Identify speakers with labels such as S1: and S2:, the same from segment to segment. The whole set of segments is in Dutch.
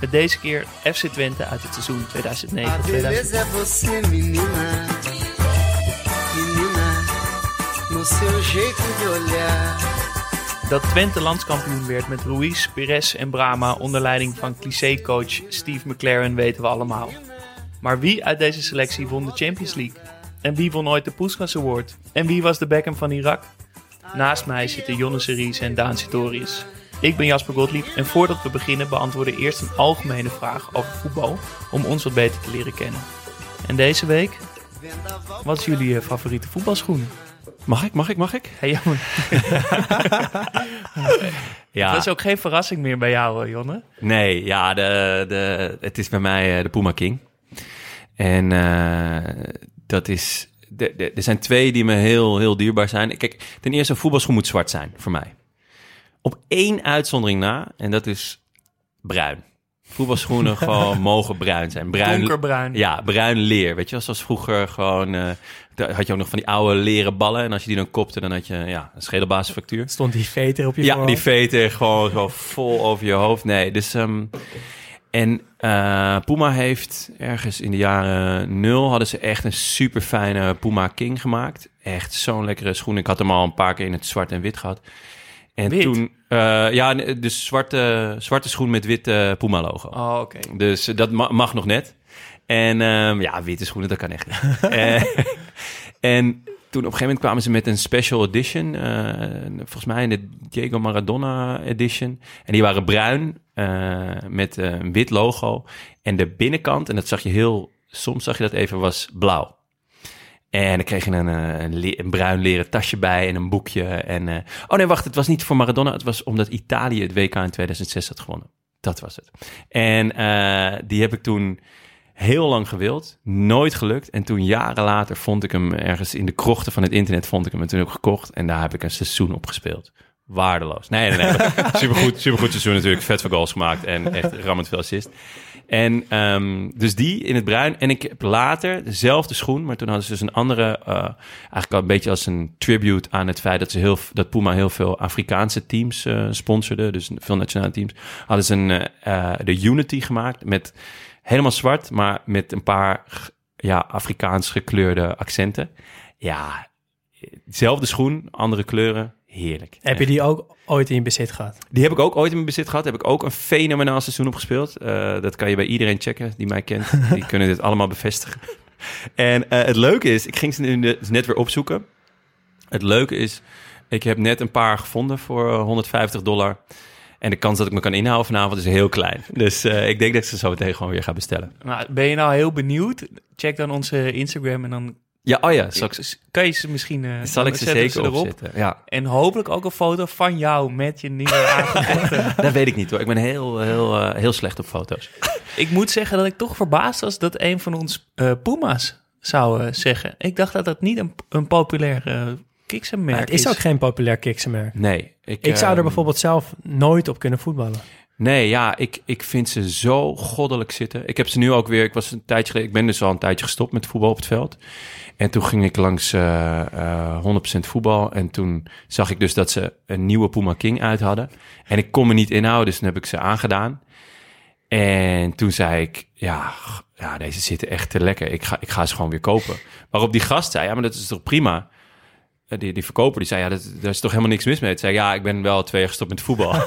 S1: Met deze keer FC Twente uit het seizoen
S2: A
S1: 2009-2010.
S2: beleza é você, menina. Menina, no seu jeito de olhar.
S1: Dat Twente landskampioen werd met Ruiz, Perez en Brama onder leiding van cliché-coach Steve McLaren weten we allemaal. Maar wie uit deze selectie won de Champions League? En wie won ooit de Puskas Award? En wie was de Beckham van Irak? Naast mij zitten Jonne Series en Daan Sitorius. Ik ben Jasper Gottlieb en voordat we beginnen beantwoorden we eerst een algemene vraag over voetbal om ons wat beter te leren kennen. En deze week, wat is jullie eh, favoriete voetbalschoen?
S3: Mag ik, mag ik, mag ik?
S1: Hey, jammer.
S3: Ja,
S1: Dat is ook geen verrassing meer bij jou, hoor, Jonne.
S3: nee, ja, de, de, het is bij mij eh, de Puma King. En eh, dat is, de- de- er zijn twee die me heel, heel dierbaar zijn. Kijk, ten eerste, een voetbalschoen moet zwart zijn, voor mij. Op één uitzondering na, en dat is bruin. Voetbalschoenen gewoon mogen bruin zijn. Bruin,
S1: Donkerbruin.
S3: Ja, bruin leer. Weet je, wel, zoals vroeger gewoon... eh, daar had je ook nog van die oude leren ballen. En als je die dan kopte, dan had je ja, een schedelbasisfractuur.
S4: Stond die veter op je
S3: Ja,
S4: voorhoofd?
S3: die veter gewoon zo vol over je hoofd. Nee, dus... ehm, en eh, Puma heeft ergens in de jaren nul... hadden ze echt een super fijne Puma King gemaakt. Echt zo'n lekkere schoen. Ik had hem al een paar keer in het zwart en wit gehad. En
S1: Wit?
S3: toen... eh, ja, nee, dus zwarte, zwarte schoen met wit eh, Puma logo.
S1: Oh, oké.
S3: Dus eh, dat ma- mag nog net. En ehm, ja, witte schoenen, dat kan echt niet. Eh, en toen op een gegeven moment kwamen ze met een special edition. eh, volgens mij in de Diego Maradona edition. En die waren bruin eh, met eh, een wit logo. En de binnenkant, en dat zag je heel... Soms zag je dat even, was blauw. En dan kreeg je een, eh, een, le- een bruin leren tasje bij en een boekje. En, eh, oh nee, wacht, het was niet voor Maradona. Het was omdat Italië het WK in 2006 had gewonnen. Dat was het. En eh, die heb ik toen heel lang gewild. Nooit gelukt. En toen jaren later vond ik hem ergens in de krochten van het internet. Vond ik hem en toen heb ik gekocht. En daar heb ik een seizoen op gespeeld. Waardeloos. Nee, nee, nee. supergoed, supergoed seizoen natuurlijk. Vet van goals gemaakt en echt rammend veel assist. En ehm, dus die in het bruin. En ik heb later dezelfde schoen, maar toen hadden ze dus een andere... eh, eigenlijk al een beetje als een tribute aan het feit dat, ze heel, dat Puma heel veel Afrikaanse teams eh, sponsorde. Dus veel nationale teams. Hadden ze een, eh, eh, de Unity gemaakt met helemaal zwart, maar met een paar g- ja, Afrikaans gekleurde accenten. Ja, dezelfde schoen, andere kleuren. Heerlijk.
S4: Heb je die ook ooit in je bezit gehad?
S3: Die heb ik ook ooit in mijn bezit gehad. Heb ik ook een fenomenaal seizoen op gespeeld. Eh, dat kan je bij iedereen checken die mij kent. Die kunnen dit allemaal bevestigen. En eh, het leuke is, ik ging ze nu dus net weer opzoeken. Het leuke is, ik heb net een paar gevonden voor eh, 150 dollar. En de kans dat ik me kan inhouden vanavond is heel klein. Dus eh, ik denk dat ik ze zo meteen gewoon weer ga bestellen.
S1: Nou, ben je nou heel benieuwd? Check dan onze Instagram en dan
S3: Ja, oh ja, zal ik,
S1: S- kan je ze misschien... eh,
S3: zal ik ze
S1: zetten we
S3: zeker opzetten. Ja,
S1: En hopelijk ook een foto van jou met je nieuwe aangekochte.
S3: dat weet ik niet hoor. Ik ben heel, heel, eh, heel slecht op foto's.
S1: ik moet zeggen dat ik toch verbaasd was dat een van ons eh, Puma's zou eh, zeggen. Ik dacht dat dat niet een, een populair eh kiksenmerk
S4: Maar het is ook geen populair kiksenmerk.
S3: Nee. Ik,
S4: Ik zou er
S3: ehm,
S4: bijvoorbeeld zelf nooit op kunnen voetballen.
S3: Nee, ja, ik, ik vind ze zo goddelijk zitten. Ik heb ze nu ook weer. Ik was een tijdje geleden. Ik ben dus al een tijdje gestopt met voetbal op het veld. En toen ging ik langs eh, eh, 100% voetbal. En toen zag ik dus dat ze een nieuwe Puma King uit hadden. En ik kon me niet inhouden, dus toen heb ik ze aangedaan. En toen zei ik, ja, g- ja deze zitten echt te lekker. Ik ga, ik ga ze gewoon weer kopen. Waarop die gast zei, ja, maar dat is toch prima? eh, die, die verkoper die zei, ja, dat, daar is toch helemaal niks mis mee. Toen zei ik, ja, ik ben wel twee jaar gestopt met voetbal.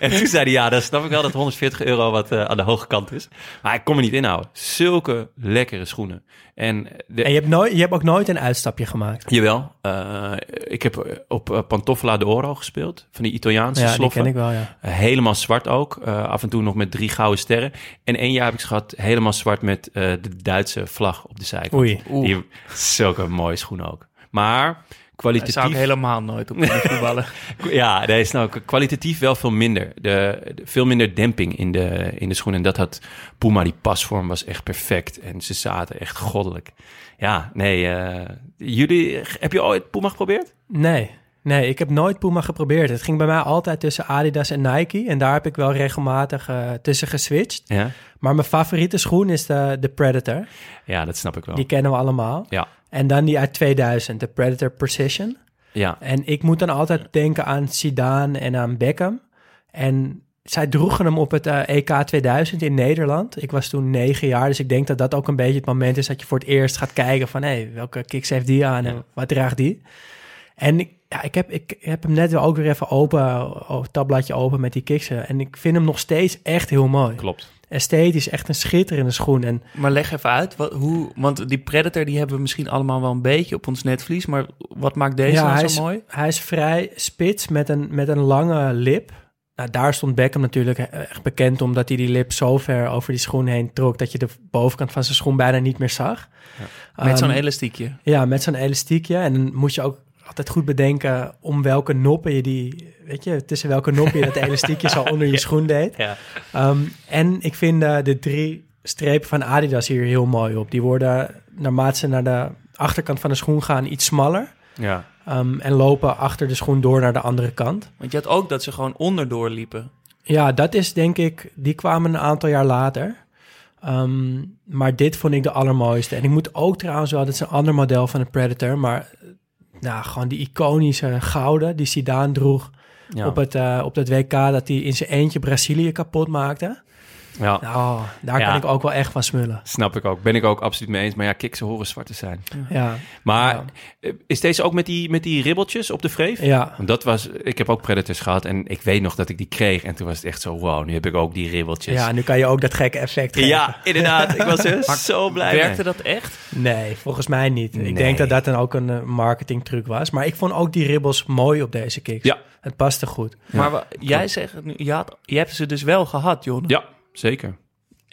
S3: en toen zei hij, ja, dat snap ik wel, dat 140 euro wat eh, aan de hoge kant is. Maar ik kon me niet inhouden. Zulke lekkere schoenen. En, de,
S4: En je hebt, nooit, je hebt ook nooit een uitstapje gemaakt.
S3: Jawel, eh, ik heb op eh, Pantoffola d'Oro gespeeld, van die Italiaanse
S4: Ja, die
S3: sloffen.
S4: ken ik wel, ja.
S3: Uh, helemaal zwart ook. Uh, af en toe nog met drie gouden sterren. En één jaar heb ik ze gehad helemaal zwart met eh, de Duitse vlag op de zijkant.
S4: Oei.
S3: Die, zulke mooie schoenen ook. Maar
S1: Daar
S3: kwalitatief...
S1: zou ik helemaal nooit op kunnen voetballen.
S3: Ja, nee, snap ik. Kwalitatief wel veel minder. De, de- veel minder demping in de, in de schoenen. En dat had Puma, die pasvorm was echt perfect. En ze zaten echt goddelijk. Ja, nee. eh, jullie, heb je ooit Puma geprobeerd?
S4: Nee, nee, ik heb nooit Puma geprobeerd. Het ging bij mij altijd tussen Adidas en Nike. En daar heb ik wel regelmatig eh, tussen geswitcht.
S3: Ja.
S4: Maar mijn favoriete schoen is de, de Predator.
S3: Ja, dat snap ik wel.
S4: Die kennen we allemaal.
S3: Ja,
S4: En dan die uit 2000, de Predator Precision.
S3: ja.
S4: En ik moet dan altijd denken aan Zidane en aan Beckham. En zij droegen hem op het eh, EK 2000 in Nederland. Ik was toen negen jaar, dus ik denk dat dat ook een beetje het moment is... dat je voor het eerst gaat kijken van... hé, hey, welke kicks heeft die aan en wat draagt die? En ik- ja, ik, heb, ik heb hem net wel ook weer even open, oh, tabbladje open met die kicksen. En ik vind hem nog steeds echt heel mooi.
S3: klopt.
S4: Esthetisch, echt een schitterende schoen. En
S1: Maar leg even uit, wat, hoe, want die Predator die hebben we misschien allemaal wel een beetje op ons netvlies. Maar wat maakt deze
S4: ja,
S1: dan
S4: hij
S1: zo
S4: is,
S1: mooi?
S4: Hij is vrij spits met een, met een lange lip. Nou, daar stond Beckham natuurlijk eh, echt bekend omdat hij die lip zo ver over die schoen heen trok dat je de bovenkant van zijn schoen bijna niet meer zag.
S1: Met zo'n
S4: Ehm,
S1: elastiekje.
S4: ja, met zo'n elastiekje. En dan moet je ook altijd goed bedenken om welke noppen je die, weet je, tussen welke noppen je dat elastiekje zo onder je schoen deed.
S3: Ja.
S4: Ehm, en ik vind eh, de drie strepen van Adidas hier heel mooi op. Die worden naarmate ze naar de achterkant van de schoen gaan iets smaller.
S3: Ja.
S4: Ehm, en lopen achter de schoen door naar de andere kant.
S1: Want je had ook dat ze gewoon onderdoor liepen.
S4: Ja, dat is denk ik, die kwamen een aantal jaar later. Ehm, maar dit vond ik de allermooiste. En ik moet ook trouwens wel, dat is een ander model van de Predator, maar eh, nou, gewoon die iconische gouden die Zidane droeg
S3: Ja.
S4: op, het, eh, op dat WK, dat hij in zijn eentje Brazilië kapot maakte.
S3: ja.
S4: Nou, daar
S3: Ja.
S4: kan ik ook wel echt van smullen.
S3: Snap ik ook. Ben ik ook absoluut mee eens. Maar ja, kiksen horen zwart te zijn.
S4: Ja,
S3: Maar
S4: Ja.
S3: eh, is deze ook met die, met die ribbeltjes op de vreef?
S4: ja.
S3: Want dat was... Ik heb ook Predators gehad en ik weet nog dat ik die kreeg. En toen was het echt zo, wow, nu heb ik ook die ribbeltjes.
S4: ja, nu kan je ook dat gekke effect geven.
S3: Dus- Ja, inderdaad. Ik was er zo blij mee.
S1: Werkte dat echt?
S4: Nee, volgens mij niet.
S3: Nee.
S4: Ik denk dat dat dan ook een eh, marketingtruc was. Maar ik vond ook die ribbels mooi op deze kicks.
S3: Ja.
S4: Het paste goed.
S1: Maar wa- jij zegt, het nu, je, had, je hebt ze dus wel gehad, Jon.
S3: Ja, zeker.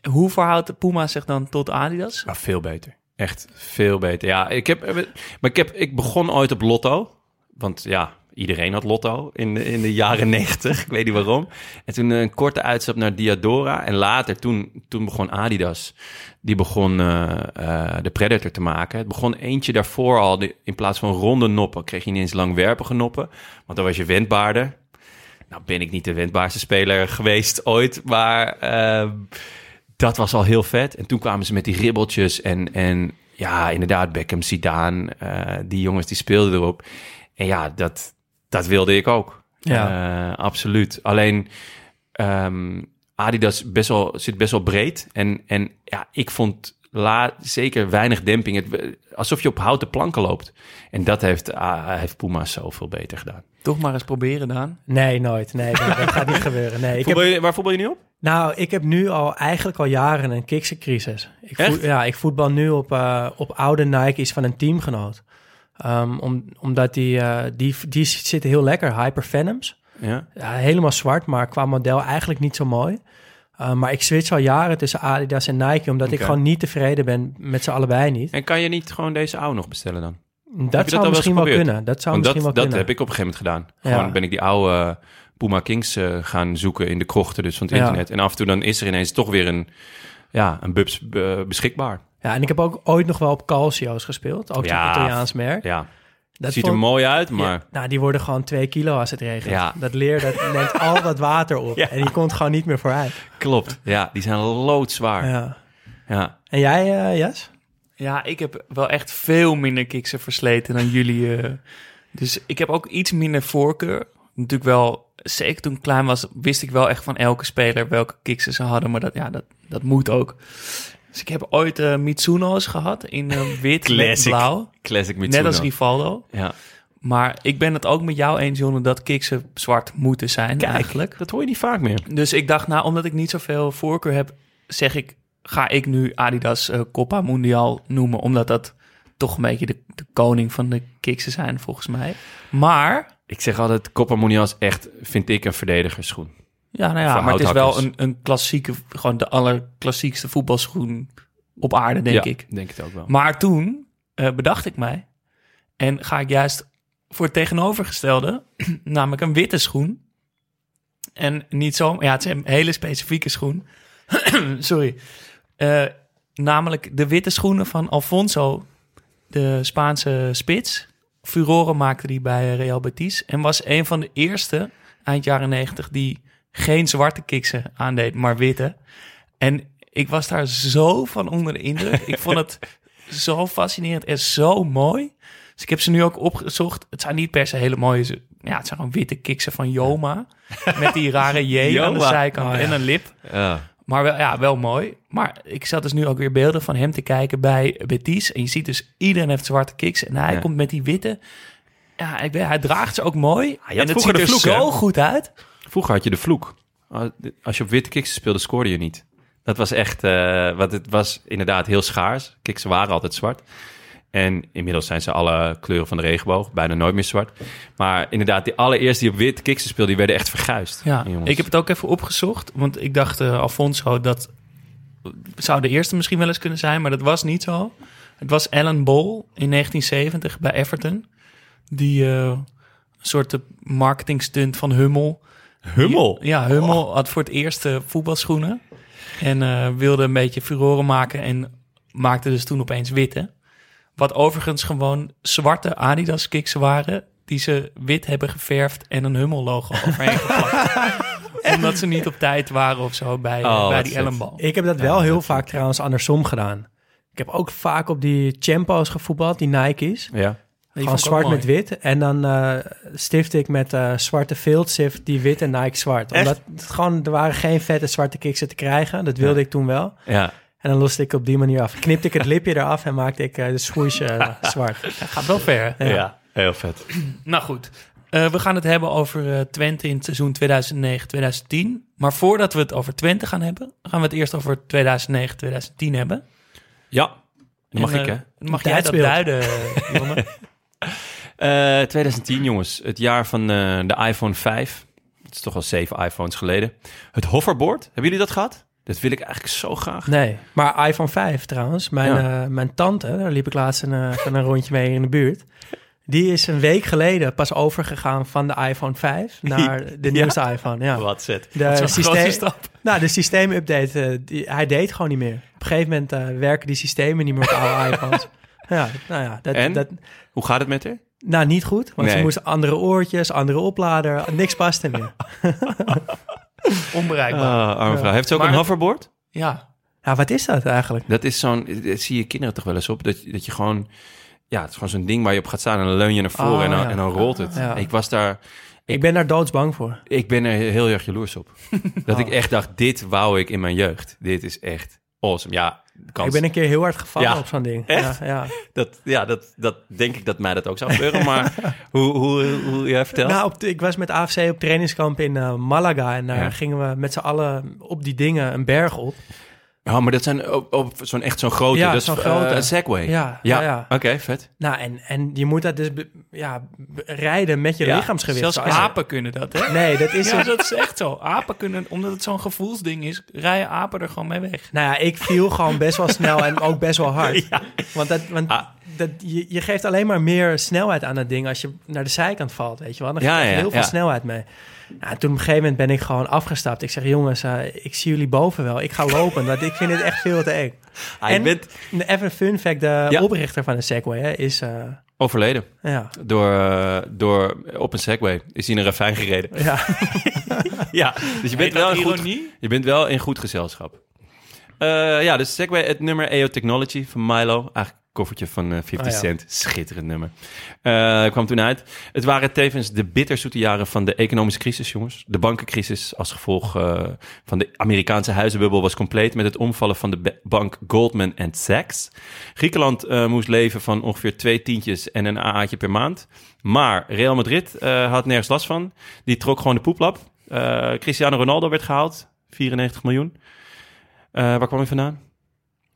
S1: Hoe verhoudt de Puma zich dan tot Adidas?
S3: Maar veel beter. Echt veel beter. Ja, ik heb, eh, maar ik, heb, ik begon ooit op Lotto. Want ja, iedereen had Lotto in de, in de jaren negentig. Ik weet niet waarom. En toen eh, een korte uitstap naar Diadora. En later, toen, toen begon Adidas. Die begon eh, eh, de Predator te maken. Het begon eentje daarvoor al. die- in plaats van ronde noppen kreeg je ineens langwerpige noppen. Want dan was je wendbaarder. Nou ben ik niet de wendbaarste speler geweest ooit. Maar... eh, dat was al heel vet. En toen kwamen ze met die ribbeltjes en, en ja, inderdaad, Beckham, Zidane, eh, die jongens die speelden erop. En ja, dat, dat wilde ik ook.
S4: Ja.
S3: Eh, absoluut. Alleen ehm, Adidas best wel, zit best wel breed. En, en ja, ik vond la, zeker weinig demping. Het, alsof je op houten planken loopt. En dat heeft, ah, heeft Puma zoveel beter gedaan.
S1: Toch maar eens proberen, Daan.
S4: Nee, nooit. Nee, dat, dat gaat niet gebeuren. Nee, ik heb,
S3: Voetbal je- waar voetbal je nu op?
S4: nou, ik heb nu al eigenlijk al jaren een kiksencrisis. Ik voet-
S3: Echt?
S4: ja, ik voetbal nu op, eh, op oude Nike's van een teamgenoot. Ehm, om, omdat die, eh, die, die zitten heel lekker, Hypervenoms.
S3: Ja.
S4: ja, helemaal zwart, maar qua model eigenlijk niet zo mooi. Uh, maar ik switch al jaren tussen Adidas en Nike, omdat ik
S3: Oké.
S4: gewoon niet tevreden ben met ze allebei niet.
S3: En kan je niet gewoon deze oude nog bestellen dan?
S4: Dat
S3: dat al
S4: zou
S3: wel eens
S4: misschien wel
S3: geprobeerd?
S4: kunnen. Dat zou
S3: Want
S4: misschien
S3: dat,
S4: wel
S3: dat heb
S4: kunnen.
S3: ik op een gegeven moment gedaan.
S4: Ja.
S3: Gewoon ben ik die oude eh, Puma Kings eh, gaan zoeken in de krochten dus van het
S4: Ja.
S3: internet. En af en toe dan is er ineens toch weer een, ja, een bubs eh, beschikbaar.
S4: Ja, en ik heb ook ooit nog wel op Calcio's gespeeld, ook
S3: Ja,
S4: zo'n Italiaans merk.
S3: Ja,
S4: dat
S3: ziet
S4: vond-
S3: er mooi uit,
S4: Ja,
S3: maar
S4: nou, die worden gewoon twee kilo als het regent.
S3: Ja.
S4: Dat leer, dat neemt al dat water op.
S3: Ja.
S4: En die komt gewoon niet meer vooruit.
S3: klopt. Ja, die zijn loodzwaar. Ja.
S4: Ja. En jij, eh, Jas?
S1: Ja, ik heb wel echt veel minder kiksen versleten dan jullie. eh. dus ik heb ook iets minder voorkeur. Natuurlijk wel, zeker toen ik klein was, wist ik wel echt van elke speler welke kiksen ze hadden. Maar dat, ja, dat, dat moet ook. Dus ik heb ooit eh, Mitsuno's gehad in eh, wit met
S3: Classic.
S1: blauw.
S3: Classic
S1: Net
S3: Mitsuno.
S1: als Rivaldo.
S3: Ja.
S1: Maar ik ben het ook met jou eens, Jonne, dat kiksen zwart moeten zijn eigenlijk.
S3: Dat hoor je niet vaak meer.
S1: Dus ik dacht, nou, omdat ik niet zoveel voorkeur heb, zeg ik, ga ik nu Adidas eh, Copa Mundial noemen. Omdat dat toch een beetje de, de koning van de kiksen zijn, volgens mij. Maar,
S3: Ik zeg altijd, Copa Mundial is echt, vind ik, een verdedigersschoen.
S1: ja, nou ja,
S3: Voor
S1: maar het is wel
S3: houthakkers.
S1: een, een klassieke, gewoon de allerklassiekste voetbalschoen op aarde, denk
S3: Ja,
S1: ik.
S3: denk het ook wel.
S1: Maar toen eh, bedacht ik mij en ga ik juist voor het tegenovergestelde, namelijk een witte schoen. En niet zo, ja, het is een hele specifieke schoen. Sorry. Eh, namelijk de witte schoenen van Alfonso, de Spaanse spits. Furoren maakte die bij Real Betis en was een van de eerste eind jaren negentig die geen zwarte kiksen aandeed, maar witte. En ik was daar zo van onder de indruk. Ik vond het zo fascinerend en zo mooi. Dus ik heb ze nu ook opgezocht. Het zijn niet per se hele mooie... ze- Ja, het zijn gewoon witte kiksen van Joma. Met die rare J aan de
S3: Joma. Oh,
S1: zijkant en een lip.
S3: Ja.
S1: Maar wel, ja, wel mooi. Maar ik zat dus nu ook weer beelden van hem te kijken bij Betis. En je ziet dus, iedereen heeft zwarte kicks. En hij
S3: Ja.
S1: komt met die witte. Ja, ik weet, hij draagt ze ook mooi.
S3: had
S1: en het
S3: vroeger
S1: ziet er
S3: de vloek,
S1: zo
S3: hè?
S1: goed uit.
S3: Vroeger had je de vloek. Als je op witte kiksen speelde, scoorde je niet. Dat was echt, eh want het was inderdaad heel schaars. Kiksen waren altijd zwart. En inmiddels zijn ze alle kleuren van de regenboog, bijna nooit meer zwart. Maar inderdaad, die allereerste die op wit kiksen speelden, die werden echt verguisd.
S1: Ja,
S3: jongens.
S1: ik heb het ook even opgezocht. Want ik dacht, eh, Alfonso, dat zou de eerste misschien wel eens kunnen zijn. Maar dat was niet zo. Het was Alan Ball in 1970 bij Everton. Die eh, een soort eh, marketingstunt van Hummel...
S3: Hummel. Oh.
S1: Ja, Hummel had voor het eerst eh, voetbalschoenen. En eh, wilde een beetje furoren maken en maakte dus toen opeens witte. Wat overigens gewoon zwarte Adidas kicks waren... die ze wit hebben geverfd en een Hummel logo overheen geplakt. Omdat ze niet op tijd waren of zo bij, eh,
S3: Oh,
S1: bij
S3: wat
S1: die
S3: vet.
S1: ellenbal.
S4: Ik heb dat wel heel vaak trouwens andersom gedaan. Ik heb ook vaak op die Champo's gevoetbald, die Nike's.
S3: Ja.
S4: Gewoon zwart met wit. En dan eh stift ik met eh, zwarte veldstift die wit en Nike zwart. Omdat het gewoon, er waren geen vette zwarte kiksen te krijgen. Dat wilde ik toen wel.
S3: ja.
S4: En dan loste ik op die manier af. Knipte ik het lipje eraf en maakte ik eh, de schoesje eh, zwart.
S1: Gaat wel ver. hè?
S4: Ja.
S3: heel vet.
S1: Nou goed, eh, we gaan het hebben over eh, Twente in het seizoen 2009-2010. Maar voordat we het over Twente gaan hebben... gaan we het eerst over 2009-2010 hebben.
S3: Ja, dat mag
S1: En,
S3: ik
S1: eh,
S3: hè.
S1: Mag jij dat
S4: Tijdsbeeld.
S1: duiden, eh, Jonne?
S3: Eh, 2010, jongens. Het jaar van eh, de iPhone 5. Het is toch al zeven iPhones geleden. Het hoverboard. Hebben jullie dat gehad? Dat wil ik eigenlijk zo graag.
S4: Nee, maar iPhone 5 trouwens. Mijn,
S3: Ja.
S4: eh, mijn tante, daar liep ik laatst een, eh, van een rondje mee in de buurt. Die is een week geleden pas overgegaan van de iPhone 5 naar de
S3: Ja?
S4: nieuwste iPhone. Ja.
S3: Wat zet.
S4: De
S1: Zo'n grote
S4: systeem,
S1: stap.
S4: nou, de systeemupdate, eh, die, hij deed gewoon niet meer. Op een gegeven moment eh, werken die systemen niet meer op oude iPhones. Ja, nou ja, dat,
S3: En?
S4: dat,
S3: Hoe gaat het met haar?
S4: nou niet goed, want ze
S3: Nee.
S4: moesten andere oortjes, andere oplader, niks paste meer.
S1: Onbereikbaar.
S3: Ah, arme vrouw. Heeft ze ook
S1: Maar-
S3: een hoverboard?
S1: ja.
S4: Ja, Nou, wat is dat eigenlijk?
S3: Dat is zo'n... Dat zie je kinderen toch wel eens op. Dat, dat je gewoon... Ja, het is gewoon zo'n ding waar je op gaat staan en dan leun je naar voren
S4: Oh,
S3: en, dan,
S4: ja.
S3: en dan rolt het.
S4: Ja.
S3: Ik was daar...
S4: Ik ben daar doodsbang voor.
S3: Ik ben er heel erg jaloers op. Dat
S4: Oh.
S3: ik echt dacht, dit wou ik in mijn jeugd. Dit is echt awesome. Ja, de kans
S4: Ik ben een keer heel hard gevallen
S3: Ja.
S4: op zo'n ding.
S3: Echt?
S4: Ja, ja.
S3: Dat, ja, dat, dat denk ik dat mij dat ook zou gebeuren. Maar hoe, hoe, hoe jij vertelt.
S4: Nou, op de- ik was met AFC op trainingskamp in eh, Malaga en daar
S3: Ja.
S4: gingen we met z'n allen op die dingen een berg op.
S3: oh, maar dat zijn op, op zo'n echt zo'n grote.
S4: Ja,
S3: dat is
S4: zo'n
S3: eh,
S4: grote.
S3: een Segway.
S4: Ja,
S3: ja.
S4: ja, ja.
S3: Oké, vet.
S4: Nou, en, en je moet dat dus be- ja, be- rijden met je
S3: Ja,
S4: lichaamsgewicht.
S1: Zelfs
S4: Als-
S1: apen kunnen dat, hè?
S4: Nee, dat is
S1: Ja,
S4: dus-
S1: dat is echt zo. Apen kunnen, omdat het zo'n gevoelsding is, rijden apen er gewoon mee weg.
S4: Nou ja, ik viel gewoon best wel snel en ook best wel hard. Want, dat, want
S3: Ah.
S4: dat, je, je geeft alleen maar meer snelheid aan dat ding als je naar de zijkant valt, weet je wel. Dan
S3: Ja,
S4: geef je
S3: ja,
S4: heel veel
S3: ja.
S4: snelheid mee. Nou, toen op een gegeven moment ben ik gewoon afgestapt. Ik zeg, jongens, eh, ik zie jullie boven wel. Ik ga lopen, want ik vind het echt veel te eng.
S3: Hij
S4: en
S3: bent
S4: even een fun fact, de
S3: Ja.
S4: oprichter van de Segway hè, is... eh,
S3: overleden.
S4: ja,
S3: Door, eh, door, op een Segway is hij in een ravijn gereden.
S4: ja.
S3: Ja, dus je bent,
S1: Heet
S3: wel
S1: dat
S3: in goed,
S1: ironie?
S3: je bent wel in goed gezelschap. Eh, ja, dus Segway, het nummer EO Technology E van Milo. Eigenlijk koffertje van eh, 50
S4: Ah, ja.
S3: Cent. Schitterend nummer. Eh, kwam toen uit. Het waren tevens de bitterzoete jaren van de economische crisis, jongens. De bankencrisis als gevolg eh, van de Amerikaanse huizenbubbel was compleet met het omvallen van de be- bank Goldman Sachs. Griekenland eh, moest leven van ongeveer twee tientjes en een AA'tje per maand. Maar Real Madrid eh, had nergens last van. Die trok gewoon de poeplap. Eh, Cristiano Ronaldo werd gehaald, 94 miljoen. Eh, waar kwam hij vandaan?